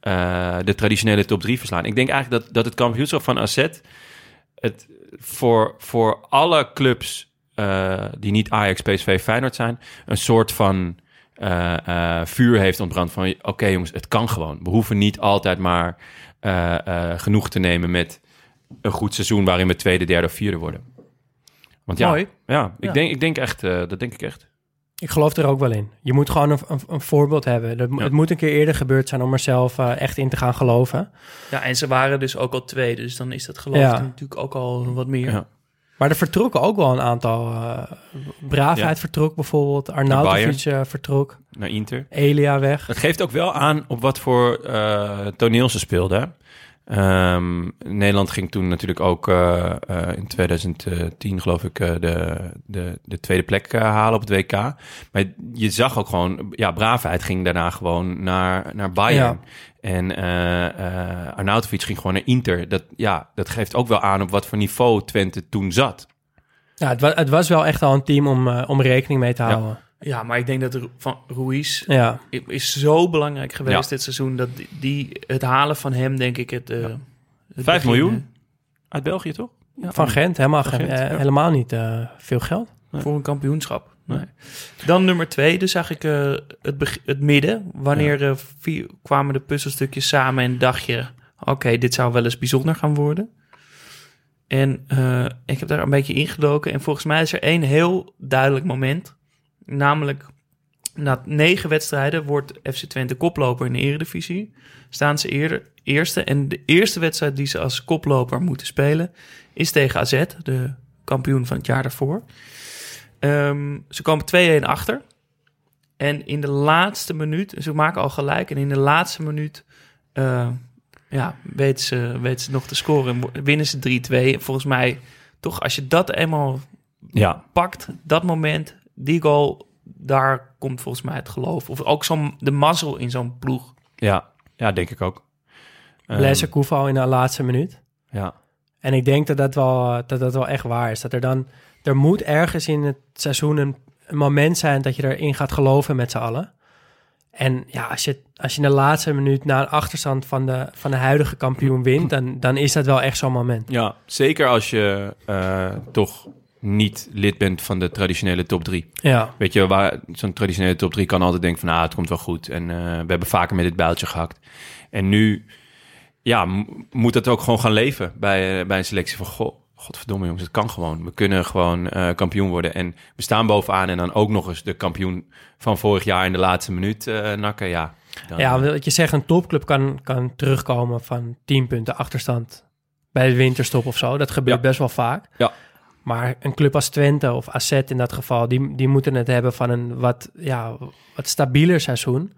S3: eh, de traditionele top 3 verslaan. Ik denk eigenlijk dat, dat het kampioenschap van AZ het voor, voor alle clubs eh, die niet Ajax, PSV, Feyenoord zijn, een soort van eh, eh, vuur heeft ontbrand van, oké jongens, het kan gewoon. We hoeven niet altijd maar eh, eh, genoeg te nemen met een goed seizoen waarin we tweede, derde of vierde worden. Want ja,
S1: Mooi.
S3: ja, ik,
S1: Ja.
S3: Denk, ik denk echt, eh, dat denk ik echt.
S4: Ik geloof er ook wel in. Je moet gewoon een, een, een voorbeeld hebben. Dat,
S3: Ja.
S4: Het moet een keer eerder gebeurd zijn om er zelf eh, echt in te gaan geloven.
S1: Ja, en ze waren dus ook al tweede. Dus dan is dat geloof
S4: Ja.
S1: ik natuurlijk ook al wat meer.
S3: Ja.
S4: Maar er vertrokken ook wel een aantal. eh Braafheid vertrok bijvoorbeeld. Arnautovic eh, vertrok.
S3: Naar Inter.
S4: Elia weg.
S3: Het geeft ook wel aan op wat voor eh, toneel ze speelden. hè. Ehm, Nederland ging toen natuurlijk ook eh, eh, in 2010, geloof ik, eh, de, de, de tweede plek eh, halen op het WK. Maar je zag ook gewoon, ja, Braafheid ging daarna gewoon naar, naar Bayern. En eh eh, Arnautovic ging gewoon naar Inter. Dat, ja, dat geeft ook wel aan op wat voor niveau Twente toen zat.
S4: Ja, het, wa- het was wel echt al een team om, eh, om rekening mee te
S3: Ja.
S4: houden.
S1: Ja, maar ik denk dat Ru- van Ruiz
S4: Ja.
S1: is zo belangrijk geweest
S3: Ja.
S1: dit seizoen. Dat die, die- het halen van hem, denk ik, het. eh, het
S3: Vijf
S1: begin,
S3: miljoen? Uit België, toch?
S4: Van Gent, helemaal, geen-
S3: Gent,
S4: eh,
S3: ja.
S4: helemaal niet eh, veel geld.
S1: eh, Voor een kampioenschap.
S3: Nee.
S1: Dan nummer twee, dus eigenlijk eh, het, beg- het midden. Wanneer eh, vier, kwamen de puzzelstukjes samen en dacht je... oké, dit zou wel eens bijzonder gaan worden. En eh, ik heb daar een beetje ingedoken. En volgens mij is er één heel duidelijk moment. Namelijk, na negen wedstrijden wordt FC Twente koploper in de eredivisie. Staan ze eerder, eerste. En de eerste wedstrijd die ze als koploper moeten spelen... is tegen AZ, de kampioen van het jaar daarvoor. Ehm, ze komen 2-1 achter. En in de laatste minuut, ze maken al gelijk. En in de laatste minuut eh, ja, weten, ze, weten ze nog te scoren. en wo- Winnen ze 3-2. En Volgens mij, toch, als je dat eenmaal
S3: Ja,
S1: pakt, dat moment, die goal, daar komt volgens mij het geloof. Of ook zo'n, de mazzel in zo'n ploeg.
S3: ja, ja, denk ik ook. Ehm,
S4: Lessen Koeval in de laatste minuut.
S3: Ja.
S4: En ik denk dat dat wel, eh, dat dat wel echt waar is. Dat er dan, er moet ergens in het seizoen een, een moment zijn dat je erin gaat geloven met z'n allen. En ja, als je, als je in de laatste minuut na een achterstand van de, van de huidige kampioen wint, dan, dan is dat wel echt zo'n moment.
S3: Ja, zeker als je eh, toch niet lid bent van de traditionele top 3.
S4: Ja,
S3: Weet je, waar zo'n traditionele top 3 kan altijd denken van... ah, het komt wel goed en eh, we hebben vaker met dit bijltje gehakt. En nu ja, m- moet dat ook gewoon gaan leven bij, eh, bij een selectie van... Goh, godverdomme jongens, het kan gewoon. We kunnen gewoon eh, kampioen worden. En we staan bovenaan en dan ook nog eens de kampioen van vorig jaar... in de laatste minuut eh, nakken, ja. Dan,
S4: ja want wat je zegt, een topclub kan, kan terugkomen van 10 punten achterstand bij de winterstop of zo. Dat gebeurt
S3: Ja.
S4: best wel vaak.
S3: Ja.
S4: Maar een club als Twente of AZ in dat geval, die, die moeten het hebben van een wat, ja, wat stabieler seizoen.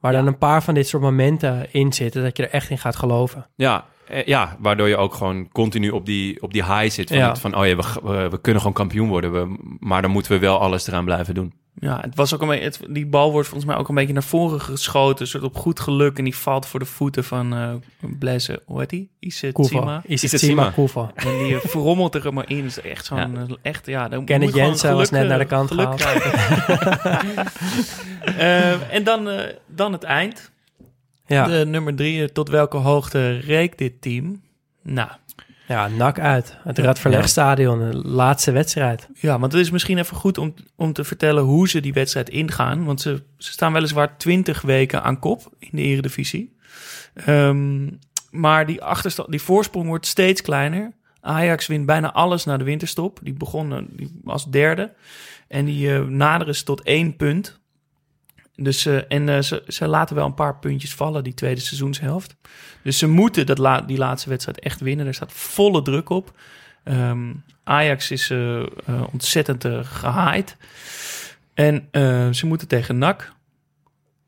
S4: Waar dan een paar van dit soort momenten in zitten, dat je er echt in gaat geloven.
S3: Ja, eh, ja, waardoor je ook gewoon continu op die, op die high zit. Van,
S4: Ja.
S3: het van oh ja, we, g- we, we kunnen gewoon kampioen worden. We, maar dan moeten we wel alles eraan blijven doen.
S1: Ja, het was ook een beetje, het, die bal wordt volgens mij ook een beetje naar voren geschoten. Een soort op goed geluk. En die valt voor de voeten van eh Blaise, hoe heet die? Isse
S4: Koeva.
S1: Tsima.
S4: Is het
S3: Isitsima.
S4: Sima Koeva.
S1: En die eh, verrommelt er maar in. Dat is echt zo'n... eh, Echt, ja, dan
S4: Kenneth
S1: moet je gewoon
S4: Jensen was
S1: geluk,
S4: net naar de
S1: eh,
S4: kant
S1: geluk
S4: gehaald.
S1: krijgen. Eh, en dan, eh, dan het eind.
S4: Ja,
S1: De nummer drie, eh, tot welke hoogte reikt dit team? Nou,
S4: ja nak uit. Het Radverlegstadion, de laatste wedstrijd.
S1: ja, want het is misschien even goed om, om te vertellen hoe ze die wedstrijd ingaan. Want ze, ze staan weliswaar 20 weken aan kop in de eredivisie. Ehm, maar die, achterstand, die voorsprong wordt steeds kleiner. Ajax wint bijna alles na de winterstop. Die begonnen die, als derde. En die eh, naderen ze tot één punt. Dus, eh, en eh, ze, ze laten wel een paar puntjes vallen, die tweede seizoenshelft. Dus ze moeten dat la- die laatste wedstrijd echt winnen. Er staat volle druk op. Ehm, Ajax is eh, eh, ontzettend eh, gehaaid. En eh, ze moeten tegen NAC.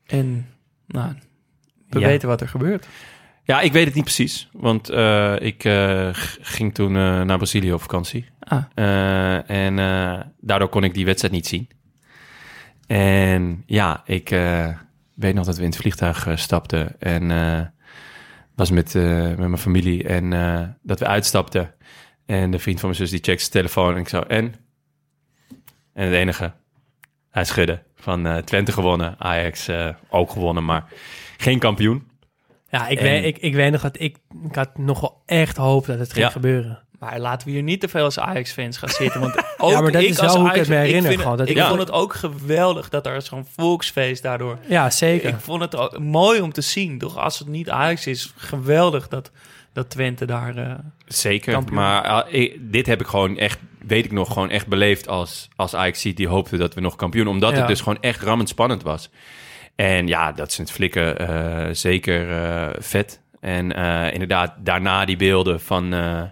S1: En nou, we
S3: Ja.
S1: weten wat er gebeurt.
S3: Ja, ik weet het niet precies. Want eh, ik eh, g- ging toen eh, naar Brazilië op vakantie.
S1: Ah.
S3: Eh, en eh, daardoor kon ik die wedstrijd niet zien. En ja, ik eh, weet nog dat we in het vliegtuig eh, stapten. En eh, was met, eh, met mijn familie. En eh, dat we uitstapten. En de vriend van mijn zus die checkt zijn telefoon. En ik zo, en? En het enige, hij schudde. Van eh, Twente gewonnen, Ajax eh, ook gewonnen, maar geen kampioen.
S4: Ja, ik,
S3: En-
S4: weet, ik, ik weet nog dat ik, ik had nogal echt hoop dat het ging
S3: Ja.
S4: gebeuren.
S1: Maar laten we hier niet te veel als Ajax-fans gaan zitten. Want ook
S4: Ja, maar dat
S1: ik
S4: is
S1: als
S4: wel hoe ik
S1: Ajax-
S4: het me herinner,
S1: vind-
S4: gewoon, dat
S1: ik
S3: ik-
S1: vond het ook geweldig dat er zo'n volksfeest daardoor...
S4: Ja, zeker.
S1: Ik vond het ook mooi om te zien. Toch als het niet Ajax is, geweldig dat, dat Twente daar... eh,
S3: Zeker,
S1: Kampioen.
S3: maar eh, ik- dit heb ik gewoon echt, weet ik nog, gewoon echt beleefd als, als Ajax die hoopte dat we nog kampioen, omdat
S4: Ja.
S3: het dus gewoon echt rammend spannend was. En ja, dat is het flikken eh, zeker eh, vet. En eh, inderdaad, daarna die beelden van, eh,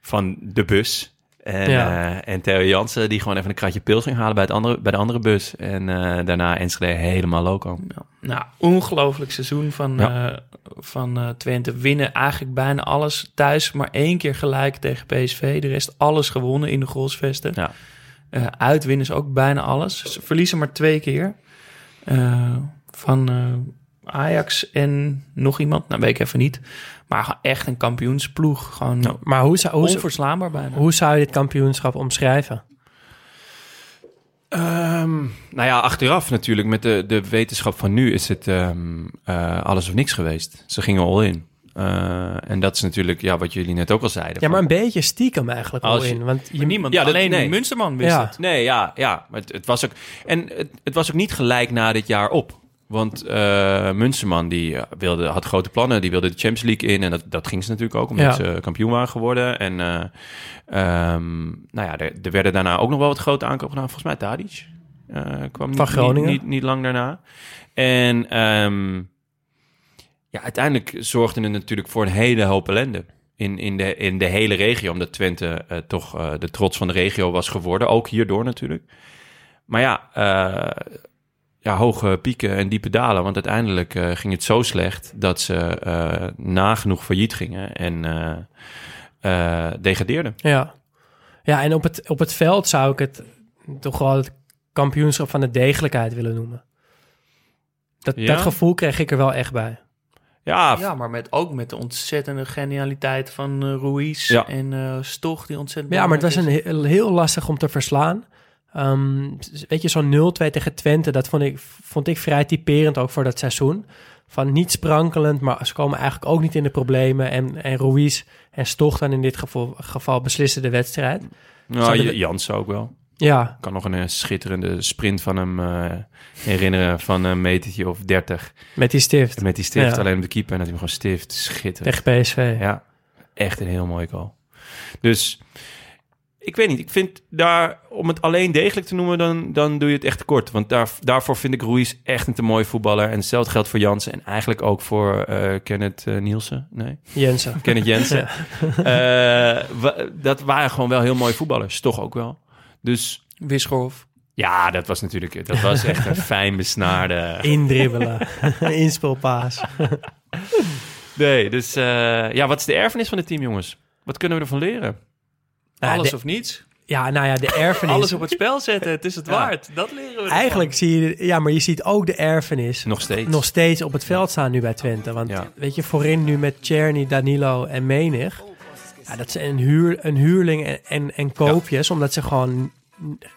S3: van de bus. En,
S4: Ja.
S3: eh, en Theo Jansen, die gewoon even een kratje pils ging halen bij, het andere, bij de andere bus. En eh, daarna Enschede helemaal loco.
S1: Nou, ongelooflijk seizoen van,
S3: Ja.
S1: eh, van eh, Twente. Winnen eigenlijk bijna alles thuis, maar één keer gelijk tegen PSV. De rest alles gewonnen in de goalsvesten.
S3: Ja.
S1: Eh, uit winnen ze ook bijna alles. Ze verliezen maar twee keer. Eh, van eh, Ajax en nog iemand, nou weet ik even niet. Maar gewoon echt een kampioensploeg. Gewoon
S4: Maar hoe zou, hoe, zou-
S1: onverslaanbaar bijna.
S4: hoe zou je dit kampioenschap omschrijven?
S3: Ehm, nou ja, achteraf natuurlijk, met de, de wetenschap van nu is het ehm, eh, alles of niks geweest. Ze gingen all in. Eh, en dat is natuurlijk ja, wat jullie net ook al zeiden.
S4: Ja, maar
S3: van-
S4: een beetje stiekem eigenlijk al
S3: Als je-
S4: in. Want je,
S1: Niemand,
S3: Ja, dat-
S1: alleen
S3: nee.
S1: Munsterman wist
S4: Ja.
S1: het.
S3: Nee, ja, ja. Maar het, het was ook, en het, het was ook niet gelijk na dit jaar op. Want eh Munsterman die eh, wilde, had grote plannen. Die wilde de Champions League in. En dat, dat ging ze natuurlijk ook, omdat
S4: Ja.
S3: ze kampioen waren geworden. En eh, ehm, nou ja, er, er werden daarna ook nog wel wat grote aankopen gedaan. Volgens mij Tadic eh, kwam niet,
S4: Van Groningen.
S3: Niet, niet, niet lang daarna. En ehm, ja, uiteindelijk zorgde het natuurlijk voor een hele hoop ellende. In, in, de, in de hele regio, omdat Twente eh, toch eh, de trots van de regio was geworden. Ook hierdoor natuurlijk. Maar ja, eh, ja hoge pieken en diepe dalen. Want uiteindelijk eh, ging het zo slecht dat ze eh, nagenoeg failliet gingen en eh, eh, degradeerden.
S4: Ja, ja en op het, op het veld zou ik het toch wel het kampioenschap van de degelijkheid willen noemen. Dat,
S3: Ja?
S4: dat gevoel kreeg ik er wel echt bij.
S3: Ja,
S1: Ja, maar met, ook met de ontzettende genialiteit van eh Ruiz
S3: Ja.
S1: en eh Stoch, die ontzettend
S4: Ja, maar het was
S1: belangrijk
S4: een
S1: is.
S4: heel, heel lastig om te verslaan. Ehm, weet je, zo'n 0-2 tegen Twente, dat vond ik, vond ik vrij typerend ook voor dat seizoen. Van niet sprankelend, maar ze komen eigenlijk ook niet in de problemen. En, en Ruiz en Stoch dan in dit geval, geval beslissen de wedstrijd.
S3: nou,
S4: Zouden
S3: J-
S4: we-
S3: Jansen ook wel.
S4: Ja,
S3: Ik kan nog een eh, schitterende sprint van hem eh, herinneren van een metertje of 30.
S4: met die stift
S3: Met die stift
S4: Ja.
S3: alleen op de keeper en dat hij hem gewoon stift. Schitterend.
S4: tegen PSV.
S3: Ja, echt een heel mooi goal. Dus ik weet niet, ik vind daar, om het alleen degelijk te noemen, dan, dan doe je het echt tekort. Want daar, daarvoor vind ik Ruiz echt een te mooie voetballer. En hetzelfde geldt voor Jansen en eigenlijk ook voor eh Kenneth eh, Nielsen. Nee,
S4: Jensen.
S3: Kenneth Jensen. Eh, wa- dat waren gewoon wel heel mooie voetballers, toch ook wel. Dus
S1: Wisgerhof.
S3: ja, dat was natuurlijk, dat was echt een fijn besnaarde...
S4: Indribbelen. Inspelpaas.
S3: Nee, dus eh, ja, wat is de erfenis van dit team, jongens? Wat kunnen we ervan leren?
S4: Nou,
S1: Alles
S4: de-
S1: of niets.
S4: ja, nou ja, de erfenis.
S1: Alles op het spel zetten, het is het waard. Dat leren we. ervan.
S4: Eigenlijk zie je, ja, maar je ziet ook de erfenis
S3: Nog steeds.
S4: nog steeds op het veld staan nu bij Twente. Want
S3: Ja.
S4: weet je, voorin nu met Czerny, Danilo en Menig. Ja, dat zijn een, huur, een huurling en, en, en koopjes, omdat ze gewoon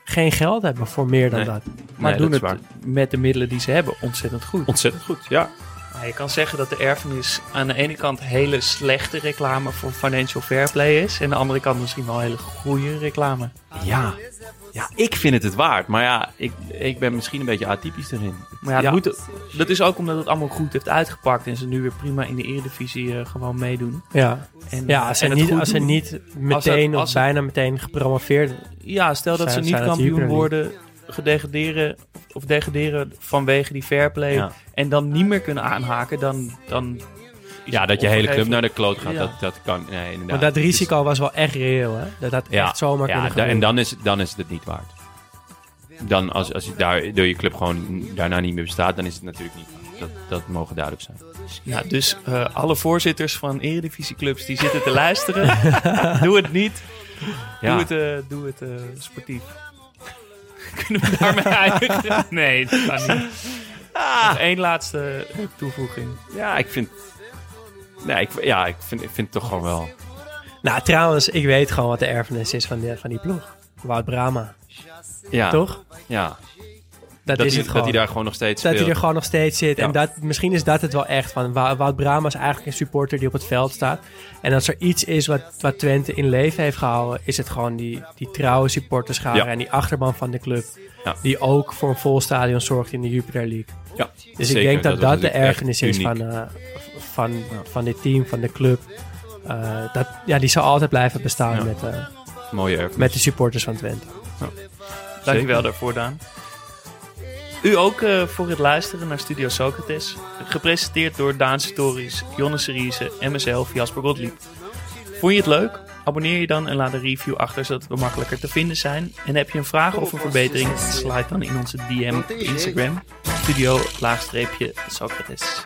S4: geen geld hebben voor meer dan
S3: Nee.
S4: dat.
S1: maar
S3: Nee,
S1: doen
S3: dat
S1: het
S3: is
S1: met de middelen die ze hebben ontzettend goed.
S3: Ontzettend goed, ja.
S1: Maar je kan zeggen dat de erfenis aan de ene kant hele slechte reclame voor financial fair play is. En aan de andere kant misschien wel hele goede reclame.
S3: Ja. Ja, ik vind het het waard. Maar ja, ik, ik ben misschien een beetje atypisch erin.
S1: Maar ja,
S4: Ja.
S1: Goed, dat is ook omdat het allemaal goed heeft uitgepakt. En ze nu weer prima in de eredivisie eh, gewoon meedoen.
S4: Ja,
S1: En, eh,
S4: ja als, ze
S1: en het
S4: niet,
S1: goed
S4: als ze
S1: doen.
S4: niet meteen
S1: als
S4: of
S1: het-
S4: bijna meteen gepromoveerd
S1: Ja, stel dat
S4: Zijn-
S1: ze
S4: zijn
S1: niet
S4: het
S1: kampioen
S4: hyperlied?
S1: worden, gedegraderen of degraderen vanwege die fair play.
S3: Ja.
S1: En dan niet meer kunnen aanhaken, dan... dan is
S3: Ja,
S1: het
S3: dat je hele club
S1: opgegeven.
S3: naar de kloot gaat,
S1: Ja.
S3: dat, dat kan. Nee, inderdaad.
S4: Maar dat
S3: Het is-
S4: risico was wel echt reëel, hè? Dat had echt zomaar
S3: dus- ja,
S4: kunnen
S3: da-
S4: gebeuren.
S3: en dan is, dan is het het niet waard. Dan als, als je daar, door je club gewoon daarna niet meer bestaat, dan is het natuurlijk niet waard. Dat, dat mogen duidelijk zijn.
S1: Ja, dus eh, alle voorzitters van eredivisieclubs die zitten te luisteren. doe het niet.
S3: Ja.
S1: Doe het, eh, doe het eh, sportief. Kunnen we daarmee eindigen? Nee, dat kan niet.
S3: Ah.
S1: Nog één laatste toevoeging.
S3: Ja, ik vind... Nee, ik, ja, ik vind, ik vind het toch gewoon wel...
S4: Nou, trouwens, ik weet gewoon wat de erfenis is van die, van die ploeg. Wout Brama,
S3: Ja,
S4: toch?
S3: Ja.
S4: Dat,
S3: Ah. Dat,
S4: is
S3: hij,
S4: het gewoon.
S3: dat hij daar gewoon nog steeds
S4: Dat hij
S3: speelt.
S4: er gewoon nog steeds zit.
S3: Ja.
S4: En dat, misschien is dat het wel echt. Van, Wou- Wout Brama is eigenlijk een supporter die op het veld staat. En als er iets is wat, wat Twente in leven heeft gehouden... is het gewoon die, die trouwe supporterschare
S3: Ja.
S4: en die achterban van de club.
S3: Ja.
S4: Die ook voor een vol stadion zorgt in de Jupiler League.
S3: Ja,
S4: Dus
S3: zeker.
S4: ik denk dat dat,
S3: was
S4: de
S3: natuurlijk echt
S4: ergernis is
S3: uniek.
S4: van, eh, van, van dit team, van de club. Eh, dat, ja, die zal altijd blijven bestaan
S3: Ja.
S4: met, eh,
S3: Mooie erfenis.
S4: met de supporters van Twente.
S1: Dankjewel daarvoor, Daan. U ook eh, voor het luisteren naar Studio Socrates. Gepresenteerd door Daan Stories, Jonne Seriese en mezelf, Jasper Gottlieb. Vond je het leuk? Abonneer je dan en laat een review achter zodat we makkelijker te vinden zijn. En heb je een vraag of een verbetering? Slide dan in onze DM op Instagram. Studio laagstreepje Socrates.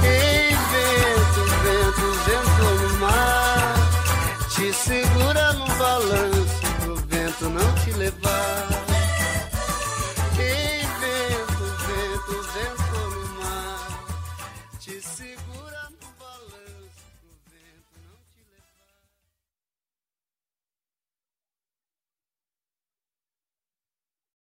S2: Ei, vento, vento, vento no mar, te segura no balanço pro vento não te levar.